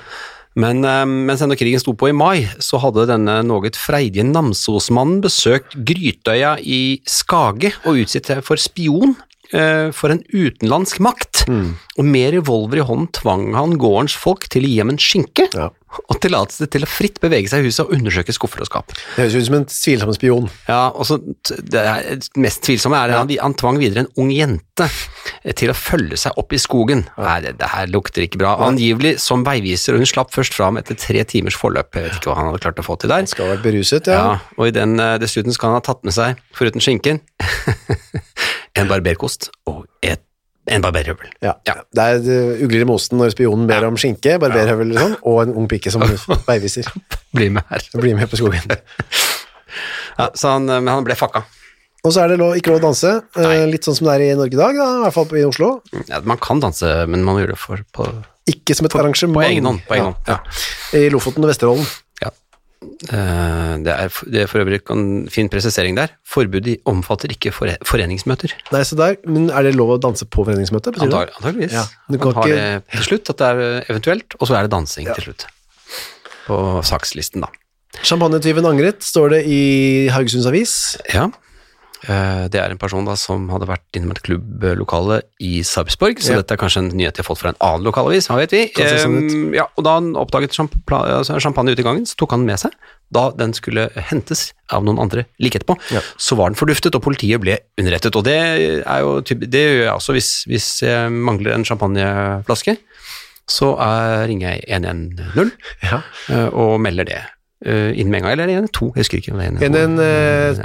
B: Men eh, mens denne krigen sto på i mai, så hadde denne noe freidige Namsosmannen besøkt Grytøya i Skage og utsatt seg for spion eh, for en utenlandsk makt. Og med revolver i hånden tvang han gårdens folk til å gi ham en skinke
A: Ja.
B: og tillatelse til å fritt bevege seg i huset og undersøke skuffer og skap.
A: Det høres ut som en tvilsom spion.
B: Ja, og så t- Det er- det mest tvilsomme er at han, han tvang videre en ung jente eh, til å følge seg opp i skogen. Nei, det, det her lukter ikke bra. Angivelig som veiviser, og hun slapp først fram etter tre timers forløp. Jeg vet ikke hva han hadde klart å få til der.
A: Skal ha vært beruset, ja.
B: Ja, og i den, eh, dessuten skal han ha tatt med seg, foruten skinken, en barberkost og et, en barberhøvel.
A: Ja.
B: Ja.
A: Det er eh, ugler i mosen når spionen ber om skinke, barberhøvel og sånn, og en ung pike som veiviser.
B: Bli med her.
A: Blir med på skogen.
B: Ja, så han, eh, men han ble fakka.
A: Og så er det lov, ikke lov å danse, eh,
B: Nei.
A: litt sånn som det er i Norge i dag, da, i hvert fall i Oslo.
B: Ja, man kan danse, men man gjør det for, på,
A: Ikke som et arrangement.
B: på egen hånd. På egen hånd. Ja.
A: Ja. I Lofoten og Vesterålen.
B: Ja. Eh, Det er, f- det er for øvrig en fin presisering der. Forbudet omfatter ikke fore, foreningsmøter.
A: Nei, så der, men er det lov å danse på foreningsmøtet, betyr det?
B: Antag, antageligvis.
A: Ja, du
B: Man
A: kan
B: har
A: ikke-
B: det til slutt, at det er eh, eventuelt, og så er det dansing til slutt. På sakslisten, da.
A: Champagnetyven angret, står det i Haugesunds Avis.
B: Ja. Eh, Det er en person da som hadde vært innom et klubblokale i Sarpsborg, så
A: Ja.
B: dette er kanskje en nyhet jeg har fått fra en annen lokalavis, hva vet vi.
A: Kan se sånn ut.
B: Eh, ja, og da han oppdaget champla- altså champagne ute i gangen, så tok han den med seg. Da den skulle hentes av noen andre like etterpå,
A: Ja.
B: så var den forduftet, og politiet ble underrettet. Og det, er jo, typ- det gjør jeg også hvis, hvis jeg mangler en champagneflaske. Så eh, ringer jeg 110
A: Ja.
B: eh, og melder det eh, inn med en gang. Eller 112, jeg husker ikke. om det er 112.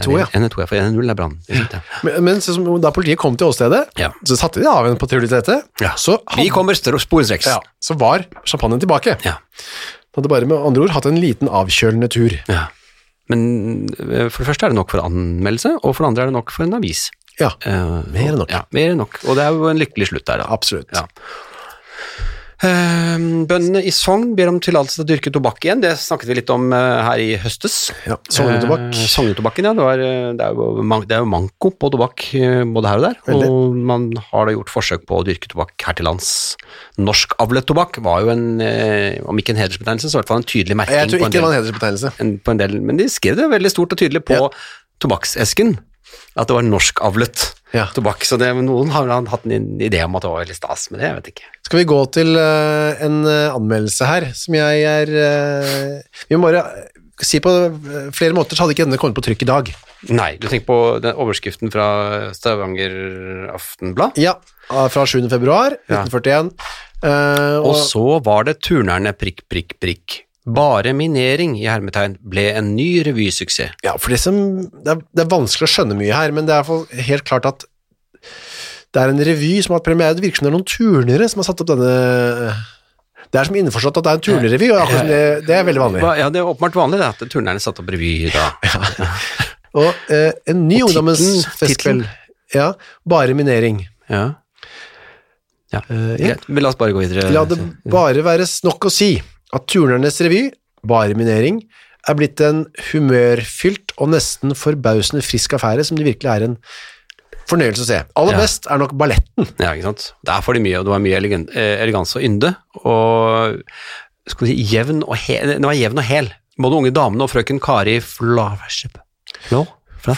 A: 112, eh, ja.
B: 112, ja, for 110 er brann. ikke sant, ja.
A: Men, men så, som- da politiet kom til åstedet,
B: Ja.
A: så satte de av en patrulje til dette,
B: Ja.
A: så,
B: Vi
A: hadde,
B: kommer større sporenstreks.
A: ja, så var champagnen tilbake.
B: Ja.
A: Han hadde bare med andre ord hatt en liten avkjølende tur.
B: Ja. Men eh, for det første er det nok for anmeldelse, og for det andre er det nok for en avis.
A: Ja,
B: Eh,
A: Mer enn nok.
B: Ja, mer enn nok. Og det er jo en lykkelig slutt der, da.
A: absolutt.
B: Ja. Eh, Bøndene i Sogn ber om tillatelse til å dyrke tobakk igjen. Det snakket vi litt om eh, her i høstes.
A: Ja, Sognetobakk.
B: Eh, Sognetobakken, ja. Det, var, eh, det, er jo, man- det er jo manko på tobakk eh, både her og der.
A: Veldig.
B: Og man har da gjort forsøk på å dyrke tobakk her til lands. Norskavlet tobakk var jo en, eh, om ikke en hedersbetegnelse, så i hvert fall en tydelig merking.
A: Jeg tror
B: på en
A: ikke det
B: del-
A: var en hedersbetegnelse.
B: en, på en del, men de skrev det veldig stort og tydelig på
A: Ja.
B: tobakksesken at det var norskavlet
A: Ja.
B: tobakk. Så det, noen har da hatt en idé om at det var veldig stas med det, jeg vet ikke.
A: Skal vi gå til eh, en eh, anmeldelse her, som jeg er eh, Vi må bare si på eh, flere måter så hadde ikke denne kommet på trykk i dag.
B: Nei, du tenker på den overskriften fra Stavanger Aftenblad.
A: Ja, ah, fra 7. februar
B: Ja.
A: 1941. Eh,
B: Og så var det turnerne prikk, prikk, prikk. Bare minering i hermetegn ble en ny revysuksess.
A: Ja, for det, som, det, er, det er vanskelig å skjønne mye her, men det er i hvert fall helt klart at det er en revy som har hatt premiere. Det virker som det er noen turnere som har satt opp denne Det er som innforstått at det er en turnerevy, og akkurat som det, det er veldig vanlig.
B: Hva- Ja, det er åpenbart vanlig det, at turnerne satte opp revy da.
A: Og eh, en ny
B: Og titlen-
A: ungdommens festkveld.
B: titlen?
A: Ja, bare minering.
B: Ja. Ja,
A: Eh, ja.
B: greit. Men La oss bare gå videre.
A: La det bare være nok å si at turnernes revy, bare minering, er blitt en humørfylt og nesten forbausende frisk affære som det virkelig er en fornøyelse å se. Aller
B: Ja.
A: best er nok balletten.
B: Ja, ikke sant? Der får de mye, og det var mye elegan eh, eleganse og ynde. Og skal vi si, jevn og hel, det var jevn og hel. Både unge damene og frøken Kari Flavership Flå? Flå?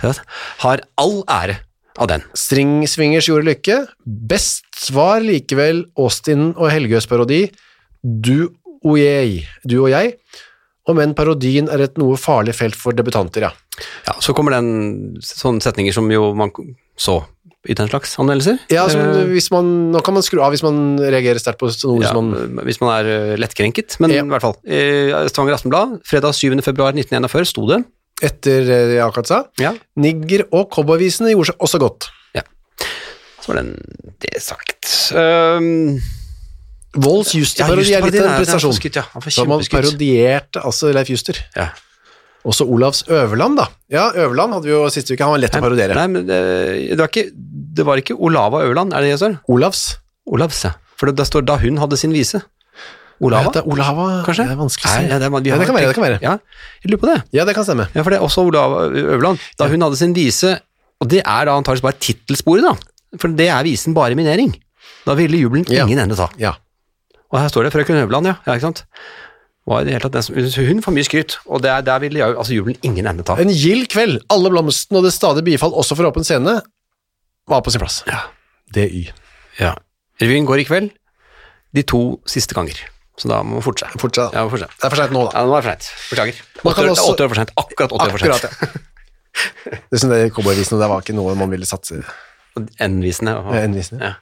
B: Flå? har all ære av den.
A: Stringsvingers gjorde lykke. Best var likevel Austin og Helgøs parodi Du og jeg. Du og jeg. Om enn parodien er et noe farlig felt for debutanter, ja.
B: Ja, så kommer den sånne setninger som jo man så i den slags anmeldelser.
A: ja som,
B: Eh,
A: hvis man, nå kan man skru av hvis man reagerer sterkt på noe
B: ja,
A: som man
B: hvis man er eh, lettkrenket, men
A: Ja.
B: i hvert fall. Eh, Stavanger Aftenblad, fredag 7. februar 1941 sto det.
A: etter eh, det jeg akkurat sa.
B: Ja.
A: Nigger og cowboyvisene gjorde seg også godt.
B: Så var den det sagt. Um,
A: Volds Juster-parodi er litt av en prestasjon.
B: Ja, han får
A: Så man
B: kjempeskutt.
A: parodierte altså Leif Juster.
B: Ja.
A: Også Olavs Øverland, da. Ja, Øverland hadde vi jo siste uke, han var lett å parodiere.
B: Nei, men det, det, var ikke, det var ikke Olava Øverland, er det det står?
A: Olavs?
B: Olavs, ja. For det, det står da hun hadde sin vise.
A: Hva
B: Olava?
A: heter det? Olava?
B: Kanskje?
A: Det er vanskelig å
B: Nei,
A: si.
B: ja, det, er- vi
A: Ja,
B: har-
A: det kan være, det kan være.
B: Ja, jeg lurer på det.
A: Ja, det kan stemme.
B: Ja, for det er også Olava Øverland. Da hun hadde sin vise, og det er da antageligvis bare tittelsporet, da. For det er visen bare minering. Da ville jubelen
A: Ja.
B: ingen ende ta.
A: Ja.
B: Og her står det frøken Øverland, ja. ja ikke sant? Var i det hele tatt den som, hun får mye skryt, og der, der ville jeg, altså, jubelen ingen ende ta.
A: En gild kveld, alle blomstene og det stadige bifall også for åpen scene, var på sin plass.
B: Ja.
A: DY.
B: Ja. Revyen går i kveld, de to siste ganger. Så da må man forte seg.
A: Fortsett, da.
B: Ja, forte seg.
A: Det er for sent nå, da.
B: Ja, nå er det for seint. Beklager.
A: Man kan
B: Åtte år-
A: også-
B: Åtte år for seint. Akkurat åtte år for
A: Akkurat,
B: seint.
A: ja. Det er sånn det i cowboyvisene, det var ikke noe man ville satse i.
B: Envisende. og-
A: Ja, envisende.
B: Ja.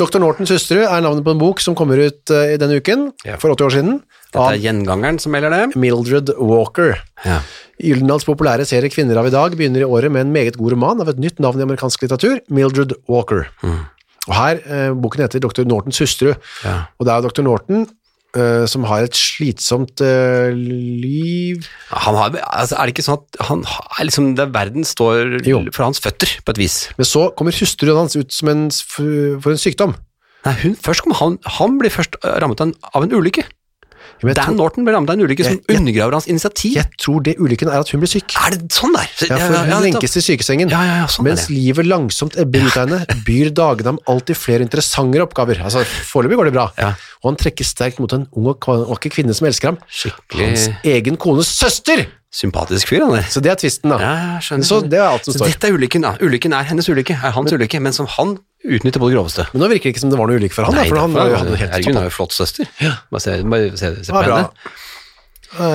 A: Dr. Nortons hustru er navnet på en bok som kommer ut eh, i denne uken,
B: Ja.
A: for 80 år siden,
B: Dette
A: av
B: er gjengangeren som melder det.
A: Mildred Walker.
B: Ja.
A: Gyldendals populære serie Kvinner av i dag begynner i året med en meget god roman av et nytt navn i amerikansk litteratur, Mildred Walker. Og her, eh, Boken heter Dr. Nortons hustru,
B: Mm. Ja.
A: og det er dr. Norton eh, som har et slitsomt eh, liv
B: Han har, altså, er det ikke sånn at han har, liksom, det er verden står
A: Jo.
B: for hans føtter, på et vis?
A: Men så kommer hustruen hans ut som en, s- for for en sykdom.
B: Nei, hun, først kom han, han blir først eh, rammet av en, av en ulykke.
A: Men jeg,
B: Dan Norton ble rammet av en ulykke som
A: Jeg- jeg-
B: undergraver hans initiativ.
A: jeg tror det ulykken er at hun blir syk.
B: er det sånn der?
A: Ja, for hun
B: nettopp.
A: lenkes til sykesengen.
B: ja, ja, ja, sånn
A: Mens
B: er det.
A: livet langsomt ebber ut av henne, byr dagene ham alltid flere interessante oppgaver. Altså, Foreløpig går det bra,
B: Ja.
A: og han trekker sterkt mot en ung og kva- vakker kvinne som elsker ham.
B: Skikkelig
A: Hans egen kones søster!
B: sympatisk fyr, han der.
A: Så det er tvisten, da.
B: Ja, jeg skjønner.
A: Så det er alt som
B: Så
A: står.
B: Dette er ulykken, da. Ulykken er hennes ulykke, er hans ulykke, men som han utnytter på det groveste.
A: Men nå virker det ikke som det var noe ulykke for han, da, for han var jo- hadde jo helt
B: herregud,
A: tatt
B: hun er jo flott søster. Bare se, bare se, se
A: Ja,
B: på
A: bra.
B: henne.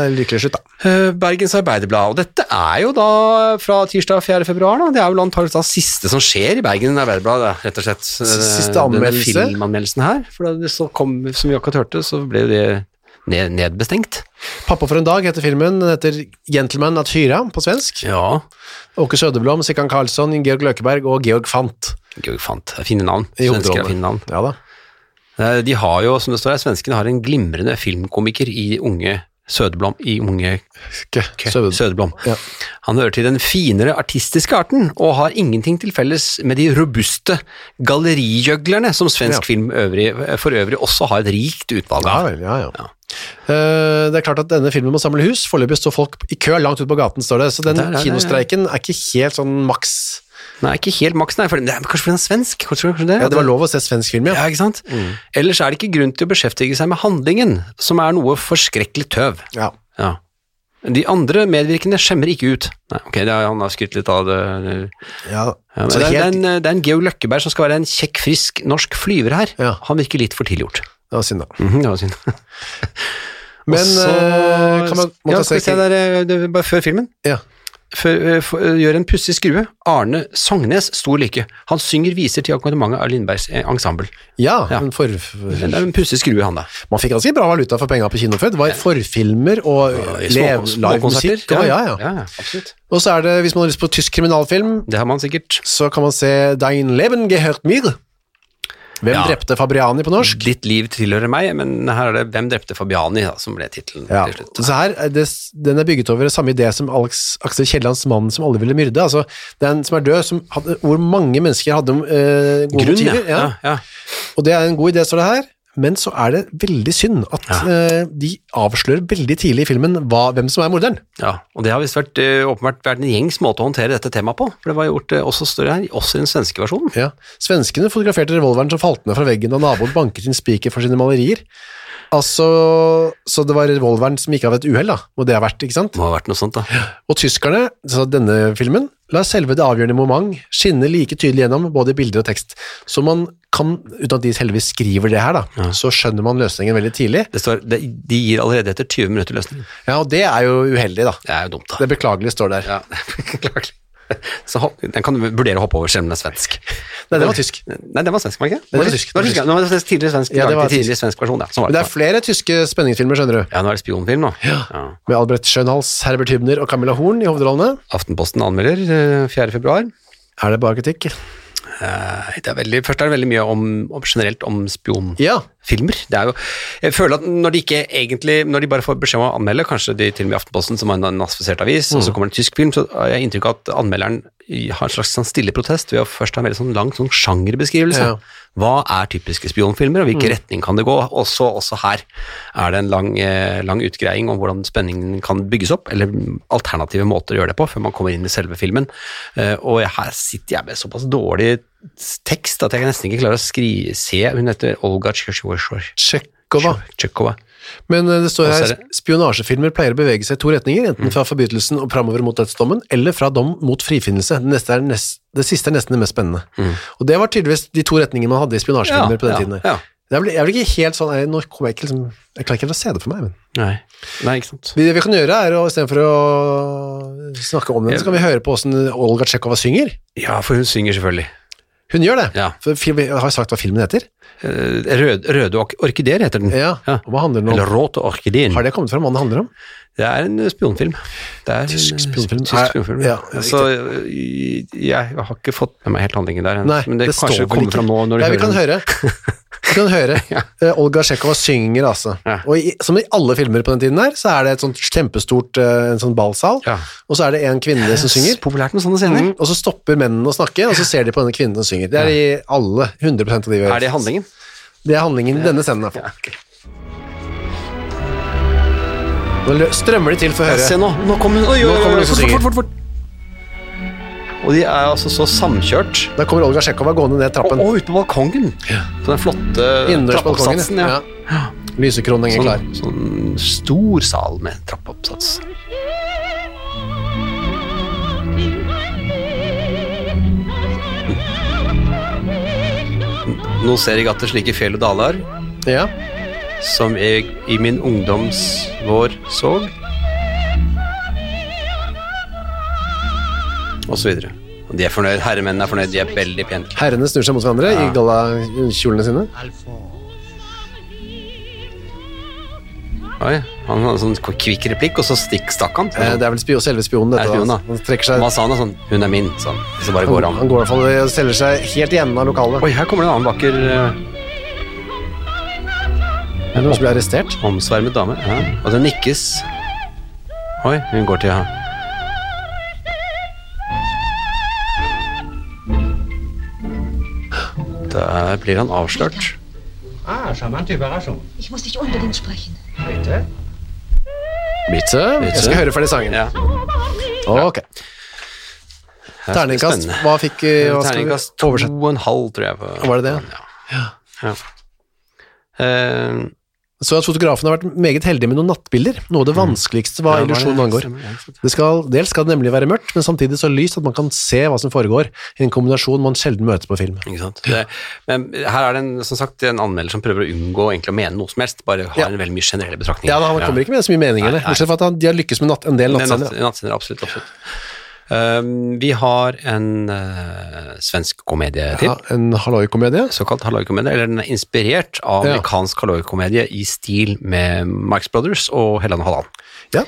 A: Eh, Lykkelig slutt, da.
B: Eh, Bergens Arbeiderblad, og dette er jo da fra tirsdag 4. februar, da. det er jo antakelig da siste som skjer i Bergen Arbeiderblad, da, rett og slett.
A: Siste
B: Eh, denne
A: anmeldelse.
B: filmanmeldelsen her, for da det så kom, som vi akkurat hørte, så ble jo det ned, nedbestengt.
A: 'Pappa for en dag' heter filmen. Den heter 'Gentleman at hyra' på svensk.
B: Ja,
A: Åke Sødeblom, Sikkan Karlsson, Georg Løkeberg og Georg Fant.
B: Georg Fant, fine navn.
A: i
B: Svensker
A: hovedrollene.
B: har fine navn.
A: Ja da.
B: Eh, De har jo, som det står her, svenskene har en glimrende filmkomiker i unge Sødeblom, i unge
A: Ikke
B: Sødeblom.
A: Sødeblom. Ja.
B: Han hører til den finere artistiske arten, og har ingenting til felles med de robuste gallerijøglerne som svensk
A: Ja.
B: film øvrig, eh, for øvrig også har et rikt utvalg
A: Ja
B: av.
A: vel, ja, ja. Eh, det er klart at denne filmen må samle hus. Foreløpig står folk i kø langt ute på gaten, står det. Så den
B: Der, der, der,
A: kinostreiken er ikke helt sånn maks.
B: Nei, ikke helt maks, nei, for det er kanskje fordi han er svensk? Kanskje, kanskje det?
A: Ja, det var lov Mm. å se svensk film, ja.
B: Ja, ikke sant? Ellers er det ikke grunn til å beskjeftige seg med handlingen, som er noe forskrekkelig tøv.
A: ja.
B: Ja. De andre medvirkende skjemmer ikke ut. Nei, ok, det er, han har skrytt litt av det. det-
A: ja.
B: Ja, men
A: Så
B: det,
A: det er helt
B: det, er en, det er en Georg Løkkeberg som skal være en kjekk, frisk norsk flyver her.
A: Ja.
B: Han virker litt for tilgjort.
A: Det var synd, da.
B: Mhm, det var synd.
A: Men
B: Og så-
A: eh, kan man må
B: ja,
A: ta
B: skal vi se
A: se
B: der, eh, det, bare før filmen.
A: Ja.
B: Før, eh, for, eh, gjør en pussig skrue. Arne Sognes, stor lykke. Han synger viser til akkompagnementet av Lindbergs eh, ensemble.
A: ja,
B: Ja.
A: men for...
B: Men det er en pussig skrue, han da.
A: Man fikk ganske bra valuta for penger på kino før. Det var forfilmer og lev, live musikk. Og, ja, ja.
B: ja, absolutt.
A: og så er det, hvis man har lyst på tysk kriminalfilm,
B: Det har man sikkert.
A: så kan man se Dein Leben gehört mir. Hvem
B: Ja. Mm.
A: drepte Fabriani på norsk?
B: Ditt liv tilhører meg, men her er det Hvem drepte Fabiani, da, som ble tittelen
A: Ja.
B: til slutt.
A: Så her, er det, den er bygget over samme idé som Alex, Aksel Kiellands mann som alle ville myrde. Altså, den som er død, som hadde, hvor mange mennesker hadde eh, gode
B: Grunn, ja.
A: motiver. Ja.
B: ja, ja.
A: Og det er en god idé, står det her. Men så er det veldig synd at eh, de avslører veldig tidlig i filmen hva, hvem som er morderen.
B: Ja, og det har visst vært, eh, åpenbart vært en gjengs måte å håndtere dette temaet på. For det var gjort eh, også større her, også i den svenske versjonen.
A: Ja. Svenskene fotograferte revolveren som falt ned fra veggen da naboen banket inn spiker for sine malerier. Altså, så det var revolveren som gikk av et uhell, da, må det ha vært, ikke sant?
B: Det må ha vært noe sånt, da.
A: Og tyskerne, så denne filmen, lar selve det avgjørende moment skinne like tydelig gjennom både i bilder og tekst. Så man kan, uten at de heldigvis skriver det her, da, så skjønner man løsningen veldig tidlig.
B: Det står, det, de gir allerede etter 20 minutter løsningen.
A: Ja, og det er jo uheldig, da.
B: Det er jo dumt, da.
A: Det beklagelige står der.
B: Ja, beklagelig. Så hopp- den kan du vurdere å hoppe over selv om den er svensk.
A: Nei, den var tysk.
B: Nei, den var svensk, var den ikke?
A: Den var tysk,
B: Det var
A: den var
B: tysk. Nå var det svensk, tidligere svensk,
A: Ja, det var
B: laget i tidligere svensk versjon, ja. Sånn var
A: Men det
B: det.
A: er flere tyske spenningsfilmer, skjønner du.
B: Ja, nå er det spionfilm nå. Ja.
A: Med Albrecht Schönhals, Herbert Hübner og Camilla Horn i hovedrollene.
B: Aftenposten anmelder eh, 4. februar.
A: Er det bare kritikk?
B: Eh, Det er veldig, først er det veldig mye om, om generelt om spion.
A: Ja.
B: filmer. Det er jo, jeg føler at når de ikke egentlig, når de bare får beskjed om å anmelde, kanskje de til og med i Aftenposten som har en asfisert avis, og så kommer det en tysk film, så har jeg inntrykk av at anmelderen i- har en slags sånn stille protest ved å først ha en veldig sånn lang sånn sjangerbeskrivelse.
A: Ja.
B: Hva er typiske spionfilmer, og
A: Mm.
B: hvilken retning kan det gå? Også, også her er det en lang, eh, lang utgreiing om hvordan spenningen kan bygges opp, eller alternative måter å gjøre det på, før man kommer inn i selve filmen. Eh, og her sitter jeg med såpass dårlig tekst at jeg nesten ikke klarer å skri se. Hun heter Olga Tsjekova.
A: Tsjekkova.
B: Tsjekkova.
A: Men eh, det står
B: Og så
A: her
B: er
A: spionasjefilmer pleier å bevege seg i to retninger, enten fra forbrytelsen og framover mot dødsdommen, eller fra dom mot frifinnelse. Det, neste er nest, det siste er nesten det mest spennende. Og det var tydeligvis de to retningene man hadde i spionasjefilmer på den tiden. her.
B: Mm. ja.
A: Jeg blir, jeg blir ikke helt sånn, jeg, nå kommer jeg ikke liksom, jeg klarer ikke helt å se det for meg, men
B: Nei. Nei, ikke sant.
A: det vi kan gjøre er, å, i stedet for å snakke om den, så kan vi høre på hvordan Olga Tjekova synger.
B: Ja, for hun synger selvfølgelig.
A: Hun gjør det.
B: Ja.
A: For film, jeg har sagt hva filmen heter.
B: Eh, Rød, røde ork- orkideer heter den.
A: Ja,
B: Ja.
A: og hva handler den om?
B: Eller Råte orkideen.
A: Har det kommet frem hva den handler om?
B: Det er en eh, spionfilm. Det er en,
A: Tysk
B: eh,
A: spionfilm.
B: Tysk
A: Nei,
B: spionfilm.
A: ja, det er
B: så eh, jeg har ikke fått med meg helt handlingen der.
A: Nei,
B: men det, kanskje
A: vel
B: kommer
A: ikke.
B: fram nå når du
A: ja, vi
B: hører
A: kan
B: den.
A: høre. Vi kan høre. Eh, Olga Tsjekhova synger, altså.
B: Ja.
A: Og i, som i alle filmer på den tiden her, så er det et sånt kjempestort eh, en sånn ballsal,
B: Ja.
A: og så er det en kvinne som synger,
B: Populært med sånne scener.
A: Mm, og så stopper mennene å snakke, og så ser de på denne kvinnen som synger. Det er i alle, 100 av de vi
B: Er det handlingen?
A: Det er handlingen i denne scenen, i hvert fall. Nå lø- strømmer de til for å
B: Se
A: høre.
B: nå, nå kommer hun. Oi, oi,
A: Nå kommer hun
B: oi, oi,
A: som
B: fort,
A: synger.
B: fort, fort, fort. Og de er altså så samkjørt.
A: Da kommer Olga Tsjekhova gående ned
B: Og,
A: trappen.
B: og ute på balkongen. På den flotte
A: Innendørs på balkongen.
B: trappeoppsatsen. Ja.
A: Lysekronen henger klar.
B: Sånn, sånn stor sal med trappeoppsats. Nå ser jeg at det er slike fjell og daler
A: Ja.
B: som jeg i min ungdoms vår såg. Og så videre. Og de er fornøyd, herremennene er fornøyd, de er veldig pent kledd.
A: Herrene snur seg mot hverandre i
B: Ja.
A: gallakjolene sine.
B: Oi, Han hadde sånn kvikk replikk, og så stikk stakk han.
A: Eh, Det er vel spio, selve spionen, dette.
B: Det er spionen, da.
A: altså. Han trekker seg
B: Hva sa han da? Sånn, hun er min, sånn. Så bare går
A: Han,
B: han.
A: han går i hvert fall og selger seg helt igjen av lokalet.
B: Oi, her kommer det en annen vakker eh,
A: Er det noen som blir arrestert?
B: omsvermet dame. Ja. Og det nikkes. Oi, hun går til han. Der blir han avslørt.
D: Ah, charmante Überraschung.
E: Ich muss dich unbedingt sprechen.
D: Bitte?
A: Bitte. Jeg skal høre ferdig sangen.
B: eh, Ja.
A: Ok.
B: Her skal det
A: Terningkast.
B: spennende.
A: Hva fikk eh, hva skal vi
B: Terningkast to
A: oversette?
B: og en halv, tror jeg. På.
A: Var det det?
B: Ja. ja. Eh,
A: Så at fotografen har vært meget heldig med noen nattbilder. Noe av det vanskeligste hva
B: Mm. ja, var det-
A: illusjonen angår.
B: stemmer, ja, ikke sant.
A: Det skal, dels skal det nemlig være mørkt, men samtidig så lyst at man kan se hva som foregår. En kombinasjon man sjelden møter på film.
B: Ikke sant? Det, men her er det en, som sagt, en anmelder som prøver å unngå egentlig å mene noe som helst, bare har
A: Ja.
B: en veldig mye generelle betraktninger.
A: Ja, da, Han kommer ikke med så mye meninger, eller?
B: Nei, nei.
A: bortsett fra at han, de har lykkes med natt, en del
B: Det er
A: nattscener.
B: natt- nattscener, absolutt, absolutt. Um, vi har en eh, svensk komedie til,
A: Ja, en halloi-komedie.
B: såkalt halloi-komedie, eller den er inspirert av
A: Ja.
B: amerikansk halloi-komedie i stil med Marx Brothers og Helland og Halland.
A: Ja.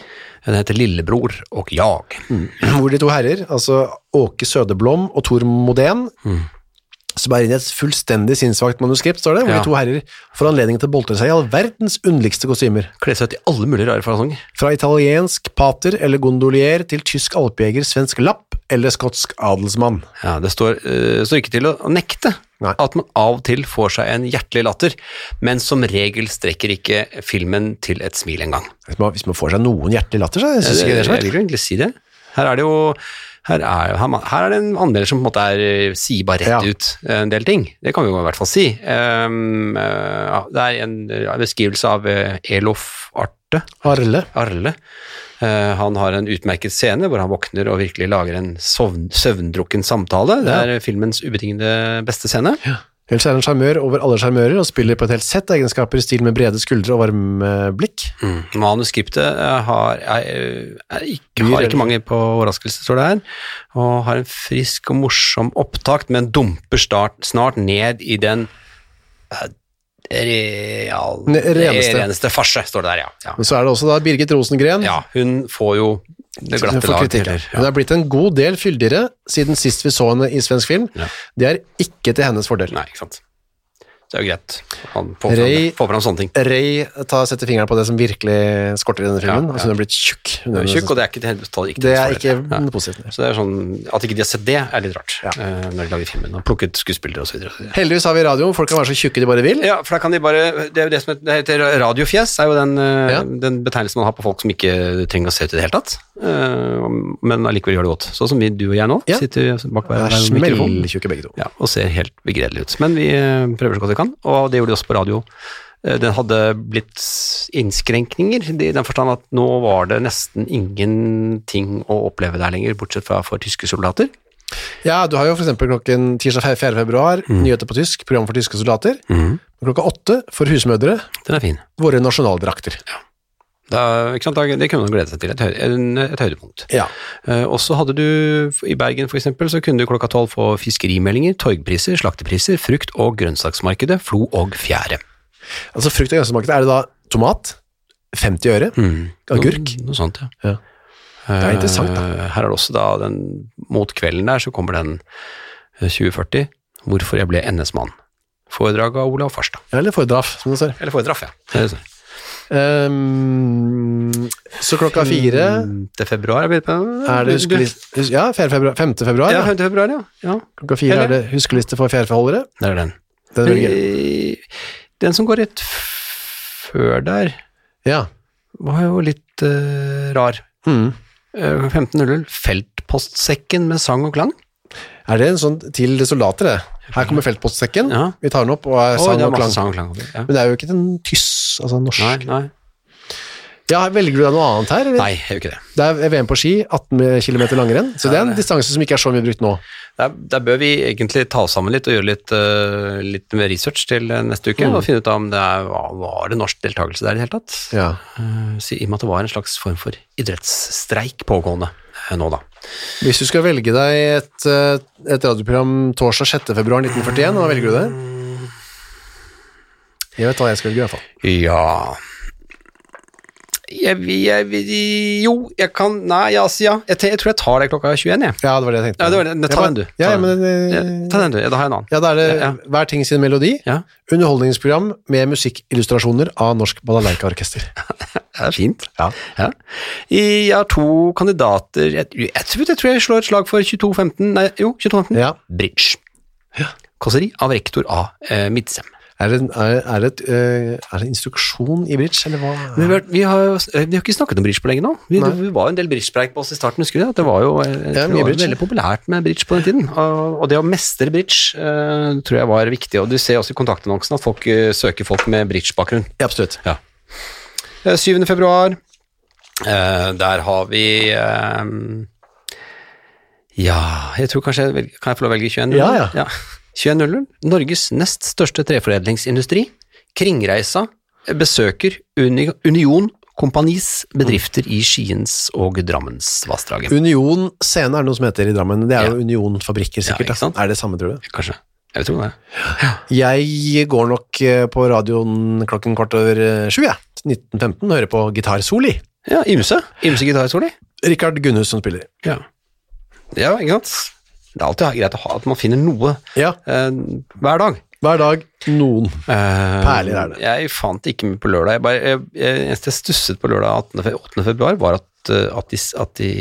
B: Den heter Lillebror og jag.
A: Mm. hvor de to herrer, altså Åke Sødeblom og Tor Modén, som er inne i et fullstendig sinnsvakt manuskript, står det, hvor
B: Ja.
A: de to herrer får anledning til å boltre seg i all verdens underligste kostymer.
B: Kler seg ut i alle mulige rare fasonger.
A: Fra italiensk pater eller gondolier til tysk alpejeger, svensk lapp eller skotsk adelsmann.
B: Ja, det står, eh, står ikke til å, å nekte
A: Nei.
B: at man av og til får seg en hjertelig latter, men som regel strekker ikke filmen til et smil engang.
A: Hvis man, hvis man får seg noen hjertelig latter, så synes jeg ikke det
B: Jeg
A: er så verst.
B: vil jo egentlig si det. Her er det jo her er, her, her er det en anmelder som på en måte er, eh, sier bare rett
A: Ja.
B: ut eh, en del ting. Det kan vi jo i hvert fall si. Ehm, eh, ja, det er en eh, beskrivelse av eh, Elof Arte.
A: Arle.
B: Arle. Eh, Han har en utmerket scene hvor han våkner og virkelig lager en sovn, søvndrukken samtale. Det er filmens ubetingede beste scene.
A: Ellers er han sjarmør over alle sjarmører og spiller på et helt sett av egenskaper i stil med brede skuldre og varme blikk.
B: Mm. Manuskriptet eh, har, er, eh, er ikke,
A: Dyr,
B: har
A: eller?
B: ikke mange på overraskelse, står det her, og har en frisk og morsom opptakt, men dumper start, snart ned i den eh, real,
A: Ne- reneste.
B: reneste farse, står det der, ja. ja.
A: Men så er det også da Birgit Rosengren,
B: Ja, hun får jo det glatte
A: Hun får
B: lag.
A: kritikk,
B: eller-
A: ja. Hun er blitt en god del fyldigere siden sist vi så henne i svensk film.
B: Ja.
A: Det er ikke til hennes fordel.
B: Nei, ikke sant. Det er jo greit. Han får fram,
A: Ray-
B: får fram sånne ting.
A: Ray tar, setter fingeren på det som virkelig skorter i denne filmen.
B: Ja,
A: Altså, hun er blitt tjukk. Hun er
B: Hun
A: sånn- liksom-
B: er Tjukk, og det er ikke til hennes tall.
A: det er ikke
B: hennes fordel.
A: noe positivt.
B: Ja. Så det er sånn, At ikke de har sett det, er litt rart.
A: Ja.
B: eh, når de lager filmen og plukket skuespillere osv.
A: Heldigvis har vi radio, folk kan være så tjukke de bare vil.
B: Ja, for da kan de bare Det er jo det som heter, det heter radiofjes, er jo den, eh,
A: Ja.
B: den betegnelsen man har på folk som ikke trenger å se ut i det hele tatt, eh, men allikevel gjør det godt. Sånn som vi, du og jeg nå,
A: Ja.
B: sitter bak hver
A: Ja,
B: hver mikrofon.
A: Smelltjukke begge to.
B: Ja, og ser helt begredelig ut. Men vi eh, prøver så godt vi kan, og det gjorde de også på radio. Eh, Den hadde blitt innskrenkninger, i den forstand at nå var det nesten ingenting å oppleve der lenger, bortsett fra for tyske soldater.
A: Ja, du har jo for eksempel klokken tirsdag 4. februar,
B: Mm.
A: nyheter på tysk, program for tyske soldater. Klokka åtte for husmødre,
B: Den er fin.
A: våre nasjonaldrakter.
B: Da, ikke sant? Da, det kunne man glede seg til. Et, høy, en- et høydepunkt.
A: Ja.
B: Eh, og så hadde du f- i Bergen for eksempel, så kunne du klokka tolv få fiskerimeldinger, torgpriser, slaktepriser, frukt- og grønnsaksmarkedet, flo og fjære.
A: Altså frukt- og grønnsaksmarkedet, er det da tomat, 50 øre,
B: Mm.
A: agurk?
B: Noe, noe sånt, ja.
A: Ja. Det er interessant, da.
B: Eh, Her er det også da den Mot kvelden der så kommer den eh, 2040, Hvorfor jeg ble NS-mann. Foredrag av Olav Farstad.
A: Ja, Eller foredraff, som du ser.
B: Eller foredrag, ja. Det er det sånn.
A: Ehm, så klokka fire
B: 5. Mm, februar, jeg vet ikke.
A: er det
B: Du-
A: huskeliste... hus- Ja, 4. februar, 5. februar.
B: Ja,
A: Ja.
B: 5. februar, ja. ja.
A: Klokka fire
B: Eller-
A: er det huskeliste for fjærfeholdere.
B: Det er den.
A: Den er veldig gøy.
B: Eh, Den som går rett f- før der,
A: Ja.
B: var jo litt eh, rar.
A: Mhm.
B: Eh, 15.00, Feltpostsekken med sang og klang.
A: Er det en sånn til soldater, det? Her kommer feltpostsekken.
B: Ja.
A: Vi tar den opp og er
B: Oi,
A: sang
B: det er
A: og
B: masse
A: klang.
B: sang og klang. over, Ja.
A: Men det er jo ikke den tyss, altså norsk.
B: Nei, nei.
A: Ja, velger du deg noe annet her? Eller?
B: nei, det er jo ikke det.
A: Det er VM på ski, 18 km langrenn, så det er en distanse som ikke er så mye brukt nå.
B: Der, der bør vi egentlig ta oss sammen litt og gjøre litt, eh, litt mer research til eh, neste uke, og finne ut av om det er, hva- var det norsk deltakelse der i det hele tatt.
A: Ja.
B: Eh, si- I og med at det var en slags form for idrettsstreik pågående eh, nå, da.
A: Hvis du skal velge deg et, eh, et radioprogram torsdag 6. februar 1941, hva velger du det? Jeg vet hva jeg skal velge i hvert fall.
B: Ja jeg, vil- jeg, vil- Jo, jeg kan Nei, ja, si ja. Jeg, te- jeg tror jeg tar det klokka 21, jeg.
A: Ja, det var det jeg tenkte.
B: Ja, det var det.
A: Jeg
B: Ta
A: bare-
B: den, du. Ta
A: Ja, ja,
B: den.
A: men,
B: Ja,
A: eh,
B: ta den, du. Ja, da har jeg en annen.
A: ja, da er det
B: Ja, ja.
A: hver ting sin melodi.
B: Ja.
A: Underholdningsprogram med musikkullustrasjoner av Norsk Balalaika-orkester.
B: Det er fint.
A: Ja.
B: Ja. I- Jeg har to kandidater jeg, jeg, tror, jeg tror jeg slår et slag for 22.15 Nei, jo, 22.15
A: Ja.
B: Bridge. Kåseri av rektor A. Eh, Midsem.
A: Er det, en- er, er, det et, eh, er det instruksjon i bridge, eller hva?
B: Men Vi har, vi, har, jo- eh, vi har ikke snakket om bridge på lenge nå. Vi,
A: Nei.
B: det var jo en del bridgepreik på oss i starten, husker du? det? At det var jo eh, det
A: mye
B: var
A: bridge.
B: veldig populært med bridge på den tiden. Og, og det å mestre bridge eh, tror jeg var viktig. Og du ser også i kontaktannonsen at folk eh, søker folk med bridgebakgrunn.
A: Ja, absolutt.
B: Ja. Eh, 7. februar, eh, der har vi eh, Ja, jeg tror kanskje jeg velger, Kan jeg få lov å velge 21.00?
A: Ja, ja.
B: 21.00. Norges nest største treforedlingsindustri. Kringreisa besøker Uni Union Kompanis bedrifter i Skiens og Drammensvassdraget.
A: Union Scene er det noe som heter i Drammen. Det er jo Union Fabrikker,
B: Ja,
A: sikkert.
B: ikke sant?
A: da. er det samme, tror du?
B: Kanskje. Jeg tror det.
A: Jeg går nok eh, på radioen klokken kvart over eh, sju, jeg. 1915, og hører på Gitar Soli.
B: Ja, Ymse. Ymse gitarsoli.
A: Rikard Gunnhus som spiller.
B: Ja. ja, ikke sant. Det er alltid greit å ha at man finner noe
A: Ja,
B: eh, hver dag.
A: hver dag noen.
B: Eh,
A: Perler er det.
B: Jeg fant ikke med på lørdag. Jeg bare, jeg, jeg, eneste jeg stusset på lørdag 18. fe- 8. februar, var at, eh, at, de, s- at de,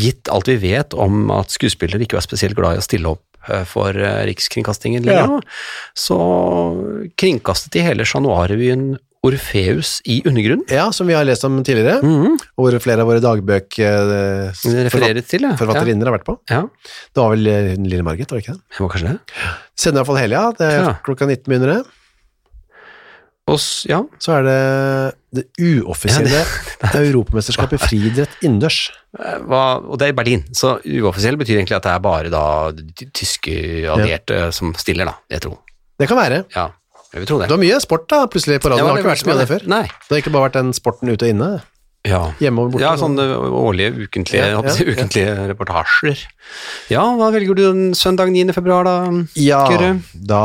B: gitt alt vi vet om at skuespillere ikke var spesielt glad i å stille opp eh, for eh, Rikskringkastingen lenger,
A: Ja.
B: nå, så kringkastet de hele Chat Noir-revyen Orfeus i undergrunnen.
A: Ja, som vi har lest om tidligere, hvor flere av våre eh,
B: som Det
A: dagbøkforfatterinnere
B: refereres til, ja. ja.
A: har vært på.
B: ja.
A: Det var vel eh, hun Lille Margit, var det ikke det?
B: Det var kanskje det.
A: Sender iallfall hele, ja. Det er
B: Ja.
A: klokka 19 begynner det.
B: Og, s- ja.
A: Så er det det uoffisielle europamesterskapet i friidrett innendørs.
B: Eh, hva, og det er i Berlin, så uoffisiell betyr egentlig at det er bare da de tyske allierte eh, som stiller, da, jeg tror.
A: Det kan være.
B: Ja, jeg vil tro det.
A: Det var mye sport da, plutselig på radioen. Det har ikke vært så mye av det før.
B: Nei.
A: Det har ikke bare vært den sporten ute og inne.
B: Ja.
A: Hjemme og borte.
B: ja, sånne årlige, ukentlige,
A: Ja, ja,
B: jeg håper å si,
A: ja.
B: ukentlige reportasjer. Ja, hva velger du den søndag 9. februar, da?
A: Ja,
B: Kyrre?
A: da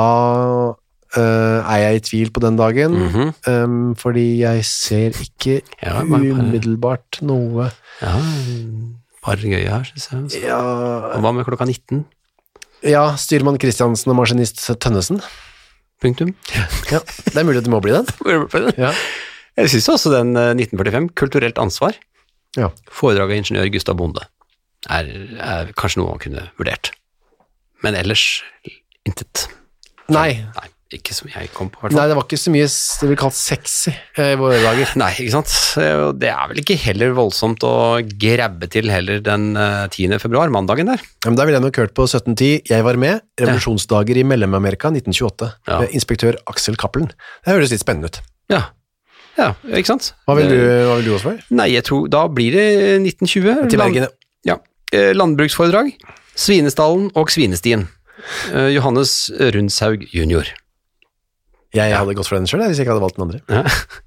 A: øh, er jeg i tvil på den dagen, øhm, fordi jeg ser ikke
B: Mhm. Ja, bare- bare-
A: umiddelbart noe.
B: Ja, et par gøye her, syns jeg. altså.
A: Ja,
B: Og Hva med klokka 19?
A: ja styrmann Kristiansen og maskinist Tønnesen.
B: Punktum.
A: Ja, det er mulig at det må bli den. Ja.
B: Jeg syns også den eh, 1945, Kulturelt ansvar,
A: Ja.
B: foredrag av ingeniør Gustav Bonde, er, er kanskje noe han kunne vurdert. Men ellers intet.
A: Nei,
B: Nei, ikke som jeg kom på, i hvert fall.
A: nei, det var ikke så mye s- det blir kalt sexy eh, i våre dager.
B: Nei, ikke sant. Eh, og Det er vel ikke heller voldsomt å grabbe til heller den eh, 10. februar, mandagen der.
A: Ja, Men da ville jeg nok hørt på 1710, jeg var med, revolusjonsdager i Mellom-Amerika 1928,
B: Ja.
A: med inspektør Aksel Kappelen. Det høres litt spennende ut.
B: Ja. ja, ikke sant.
A: Hva vil du,
B: Eh,
A: hva vil du også for?
B: Nei, jeg tror da blir det 1920.
A: Til
B: Land-
A: Bergen, ja.
B: Ja. Eh, Landbruksforedrag. Svinestallen og Svinestien. Eh, Johannes Rundshaug jr.
A: Jeg hadde gått for den selv, jeg, hvis jeg ikke hadde valgt den andre.
B: Ja.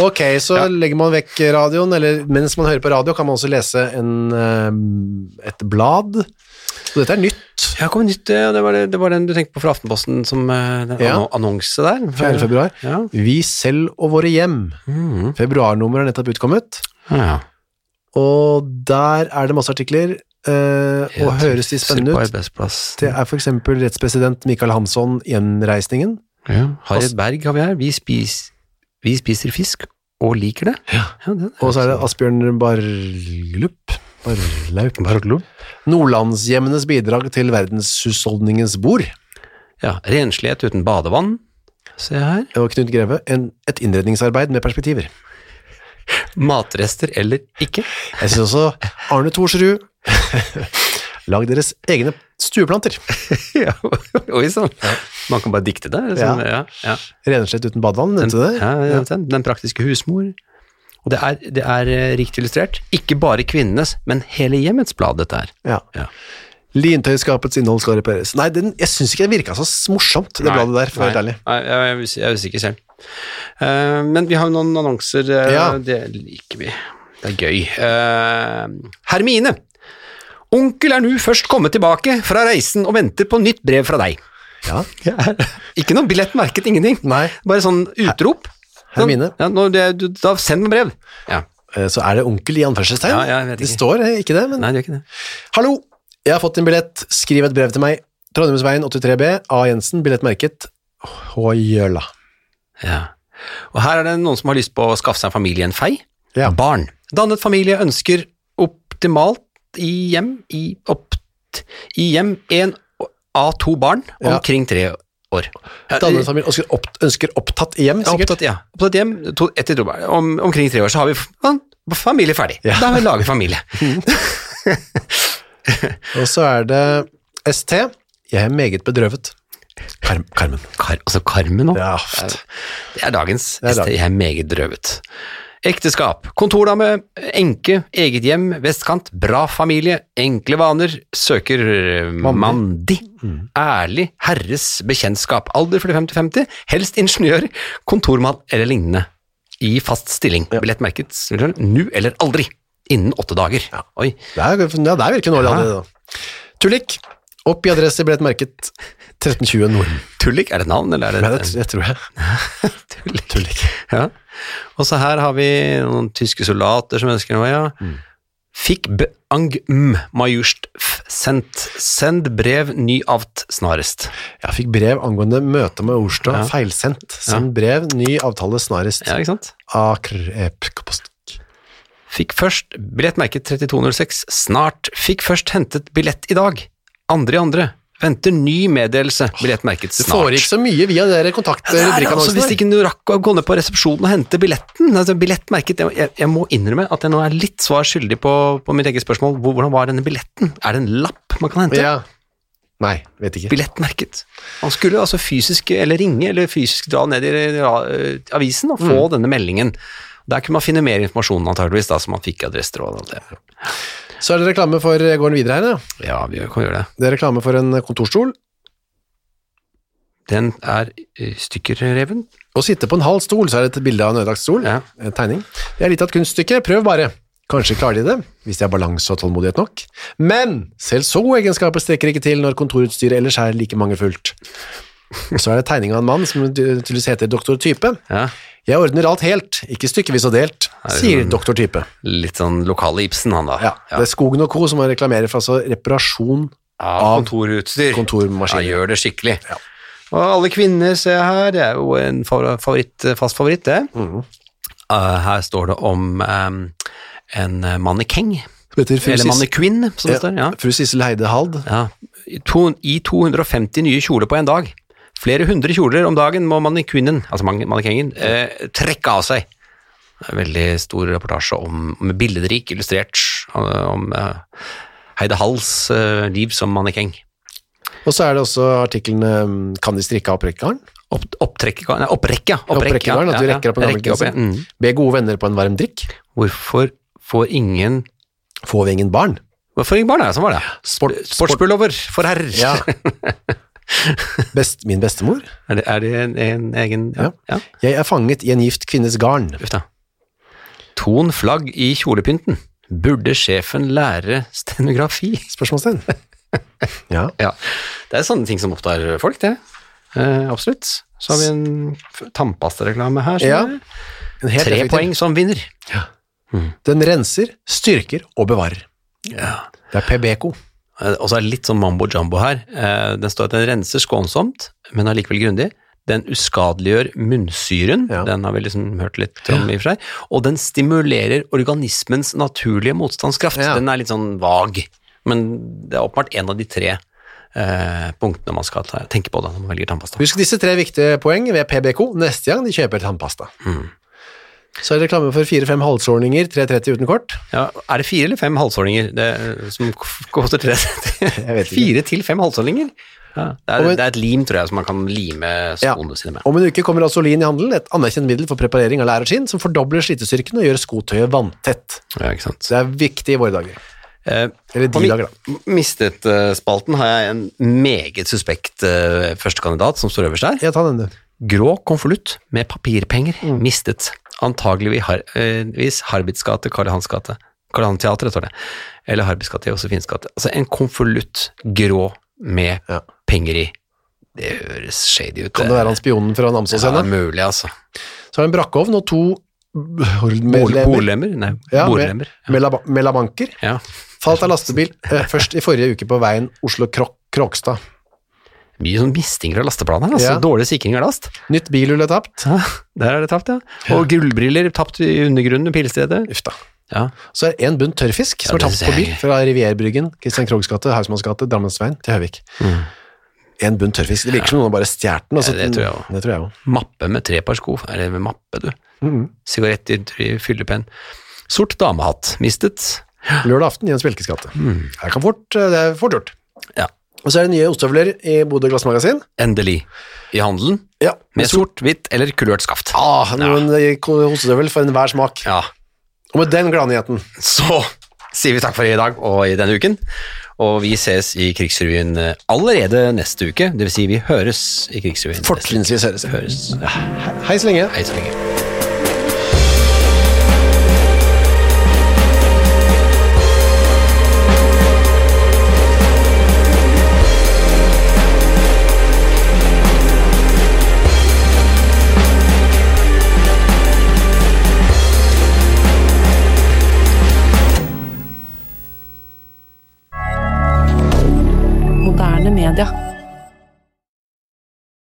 A: Ok, så legger man vekk radioen, eller mens man hører på radio, kan man også lese en, eh, et blad. Så dette er nytt,
B: Ja, kom nytt, ja, det, var det, det var den du tenkte på fra Aftenposten som eh, den
A: Ja.
B: anno- annonse der.
A: 4. februar.
B: Ja.
A: Vi selv og våre hjem.
B: Mhm.
A: Februarnummeret er nettopp utkommet,
B: ja.
A: og der er det masse artikler, eh, og høres de spennende
B: På
A: ut.
B: arbeidsplass.
A: Det er for eksempel rettspresident Mikael Hansson, gjenreisningen.
B: Ja. Harriet Berg har vi her. Vi, spis, vi spiser fisk og liker det. Ja. det
A: Og så er det Asbjørn Barlup. Barlaup.
B: Barglo.
A: Nordlandshjemmenes bidrag til verdenshusholdningens bord.
B: Ja. Renslighet uten badevann. Se her.
A: Og Knut Greve, en, et innredningsarbeid med perspektiver.
B: Matrester eller ikke.
A: Jeg synes også Arne Thorsrud Lag deres egne stueplanter.
B: ja. Oi sann. Man kan bare dikte det. eller
A: Ja.
B: sånn, Ja. Ja.
A: Renslett uten badevann, nevnte du
B: Den,
A: det?
B: ja, ja, den, den praktiske husmor. Og det er, det er eh, rikt illustrert. Ikke bare kvinnenes, men hele hjemmets blad, dette her.
A: Ja.
B: Ja.
A: Lintøyskapets innhold skal repareres. Nei, den, jeg syns ikke det virka så morsomt, det bladet der. for å være helt ærlig.
B: Nei, jeg, jeg, visste, jeg visste ikke selv. Eh, men vi har jo noen annonser. eh,
A: Ja.
B: Det liker vi. Det er gøy. Eh, Hermine. Onkel er nå først kommet tilbake fra reisen og venter på nytt brev fra deg.
A: Ja.
B: Ikke noe billettmerket, ingenting.
A: Nei.
B: Bare sånn utrop.
A: Hermine.
B: Ja, når det, du, da send noe brev. Ja.
A: Eh, Så er det onkel i anførselstegn.
B: Ja, jeg vet
A: det
B: ikke.
A: står eh, ikke det, men
B: Nei, det gjør ikke det.
A: Hallo, jeg har fått en billett. Skriv et brev til meg. Trondheimsveien 83B, A. Jensen, billettmerket Håjøla.
B: Ja. Og her er det noen som har lyst på å skaffe seg en familie en fei.
A: Ja.
B: Barn. Dannet familie ønsker optimalt i hjem i, opp, i hjem en av to barn
A: Ja.
B: omkring tre år. Ja,
A: Dannet familie ønsker, opp, ønsker opptatt i hjem,
B: ja,
A: sikkert.
B: opptatt, ja. opptatt hjem, to, ett til to barn. Om, omkring tre år så har vi f- ja, familie ferdig.
A: Ja.
B: Da har vi laget familie.
A: Og så er det ST. Jeg er meget bedrøvet. Kar Carmen.
B: Kar, altså Carmen nå.
A: Det er haft.
B: Det er dagens.
A: Det er
B: Jeg er meget drøvet. Ekteskap. Kontordame, enke, eget hjem, vestkant, bra familie, enkle vaner, søker eh, mandig, ærlig, herres bekjentskap, alder 45-50, helst ingeniør, kontormann eller lignende, i fast stilling, billettmerket, nu eller aldri, innen åtte dager. Oi,
A: Det er, ja, det er virkelig nålig allerede. da. Tullik. Opp i adresse, billettmerket 1320 Norden.
B: Tullik, er det et navn, eller
A: Men
B: er
A: det,
B: det
A: det tror jeg.
B: Tullik?
A: Tullik.
B: Ja. Og så her har vi noen tyske soldater som ønsker noe, ja. Fikk beang m majust f sendt. Send brev ny avt snarest.
A: Jeg fikk brev angående møte med Orstad feilsendt. Send brev, ny avtale snarest.
B: Ja, ikke sant?
A: Akr... ep- post.
B: Fikk først billettmerket 3206 snart. Fikk først hentet billett i dag. Andre i andre. Venter ny meddelelse. Billettmerket
A: Det
B: snart.
A: foregikk så mye via dere
B: Det er altså
A: kontaktrubrikkannonsene.
B: Hvis ikke du rakk å gå ned på resepsjonen og hente billetten altså billettmerket, jeg, jeg, jeg må innrømme at jeg nå er litt svar skyldig på, på mitt eget spørsmål. Hvor- Hvordan var denne billetten? Er det en lapp man kan hente?
A: Ja. Nei, vet ikke.
B: Billettmerket. Man skulle altså fysisk eller ringe eller fysisk dra ned i ra- eh, avisen og få denne meldingen. Der kunne man finne mer informasjon antageligvis, da, så man fikk adresser og alt det.
A: Så er det reklame for Jeg går den videre her, ja.
B: Ja, vi kan gjøre det.
A: Det er reklame for en kontorstol.
B: Den er i stykker, Reven.
A: Å sitte på en halv stol, så er det et bilde av en ødelagt stol.
B: Ja.
A: En tegning. Det er litt av et kunststykke, prøv bare. Kanskje klarer de det, hvis de har balanse og tålmodighet nok. Men selv så gode egenskaper strekker ikke til når kontorutstyret ellers er like mangelfullt. Og så er det tegning av en mann som tydeligvis heter doktor Type.
B: Ja.
A: Jeg ordner alt helt, ikke stykkevis og delt,
B: det er
A: sier
B: sånn-
A: doktor Type.
B: Litt sånn lokale Ibsen, han da.
A: Ja, det er Skogen og Co. som reklamerer for altså reparasjon
B: Av
A: av
B: kontorutstyr.
A: kontormaskiner.
B: Ja, gjør det skikkelig. Og alle kvinner, ser jeg her, det er jo en fa- favoritt, fast favoritt, det. Eh, her står det om ehm, en mannekeng,
A: Det heter fru
B: eller
A: Sis-
B: mannekvinn, som det står.
A: ja,
B: Ja.
A: Fru Sissel Heide Hald.
B: Ja. I, to, I 250 nye kjoler på en dag. Flere hundre kjoler om dagen må mannekvinnen, altså man- mannekengen, eh, trekke av seg. Det er en Veldig stor reportasje om, med billedrik illustrert eh, om eh, Heide Halls eh, liv som mannekeng.
A: Og så er det også artikkelen eh, 'Kan de strikke av opprekkegarn?'
B: Opp, opptrekkegarn Nei, opprekke.
A: Opprekkegarden, at du rekker opp en gammel
B: ja.
A: grense.
B: Mm.
A: Be gode venner på en varm drikk.
B: Hvorfor får ingen
A: Får vi ingen barn?
B: For Ing Barn, ja. Sånn var det. Sport,
A: Sport-
B: Sportspullover for herrer.
A: Ja. Best, min bestemor.
B: Er det, er det en, en egen
A: Ja.
B: Ja. ja.
A: Jeg er fanget i en gift kvinnes garn.
B: Uff da. Ton flagg i kjolepynten. Burde sjefen lære stenografi?
A: Spørsmålstegn. Ja.
B: Ja, det er sånne ting som opptar folk, det. Eh, absolutt. Så har vi en f- tannpastareklame her. som
A: Ja,
B: er
A: En helt
B: Tre
A: effektiv.
B: poeng som vinner.
A: Den renser, styrker og bevarer. Det er PBK.
B: Eh, Og så er det litt sånn mambo jumbo her. Eh, den står at den renser skånsomt, men allikevel grundig. Den uskadeliggjør munnsyren,
A: Ja.
B: den har vi liksom hørt litt om i og for seg. Og den stimulerer organismens naturlige motstandskraft.
A: Ja.
B: Den er litt sånn vag, men det er åpenbart en av de tre eh, punktene man skal ta, tenke på da når man velger tannpasta.
A: Husk disse tre viktige poeng ved PBK neste gang de kjøper tannpasta.
B: Hmm.
A: Så er det reklame for 4-5 halsordninger, 3,30 uten kort.
B: Ja, er det fire eller fem halsordninger det, eh, som k- koster tre
A: vet ikke.
B: Fire til fem halsordninger? Ja, det,
A: Og
B: er,
A: en-
B: det er et lim, tror jeg, som man kan lime
A: Ja.
B: skoene sine med.
A: Om en uke kommer Azolin i handel, et anerkjent middel for preparering av lær og skinn, som fordobler slitestyrken og gjør skotøyet vanntett.
B: Ja, ikke sant?
A: Så det er viktig i våre dager.
B: Eh,
A: Eller de
B: på mi-
A: dager, da.
B: Mistet-spalten har jeg en meget suspekt eh, førstekandidat som står øverst der.
A: Ja, ta den, du.
B: Grå konvolutt med papirpenger
A: Mm.
B: mistet. Antageligvis har, eh, vis Harbits gate, Karl Johans gate. Karl Johan Teatret, står det. Eller Harbits gate, Josefins gate. Altså en konvolutt grå med
A: Ja.
B: penger i. Det høres shady ut.
A: Kan det være sånn, han spionen fra Namsos?
B: Ja, det
A: henne?
B: er mulig, altså.
A: Så har vi en brakkeovn og to
B: Bol-
A: medlemmer
B: Bordlemmer? Nei,
A: ja, med,
B: bordlemmer. Ja.
A: melaba- melabanker.
B: ja.
A: Falt av lastebil eh, først i forrige uke på veien Oslo-Krokstad.
B: Mye sånn misting fra lasteplanet her, altså.
A: Ja.
B: Dårlig sikring av last.
A: Nytt bilhull er tapt.
B: Ja, der er det tapt, ja. Og gullbriller tapt i undergrunnen ved pilstedet.
A: Uff da.
B: Ja.
A: Så er det en bunn tørrfisk som
B: Ja,
A: er tapt
B: det ser
A: på bil
B: jeg.
A: fra Rivierbryggen, Kristian Krogs gate, Hausmanns gate, Drammensveien til Høvik. En bunn tørrfisk. Det virker som noen har bare stjålet den. og
B: Mm. Ja,
A: satt
B: det tror jeg
A: den-
B: også.
A: Det tror jeg også.
B: Mappe med tre par sko. Er det med mappe, du? Sigaretter, tre- fyllepenn. Sort damehatt, mistet.
A: Lørdag aften, Jens Bjelkes gate. Her kan fort, eh, det er fort gjort.
B: Ja,
A: Og så er det nye ostehøvler i Bodø Glassmagasin.
B: endelig. I handelen,
A: Ja,
B: med sort, hvitt eller kulørt skaft.
A: Ah, noen eh, ostehøvel for enhver smak.
B: Ja,
A: Og med den gladnyheten.
B: så sier vi takk for i dag og i denne uken. Og vi ses i Krigsrevyen eh, allerede neste uke. Det vil si, vi høres i Krigsrevyen. neste
A: Fortrinnsvis høres.
B: uke. Høres.
A: Hei så lenge.
B: Hei så lenge.
E: Moderne media.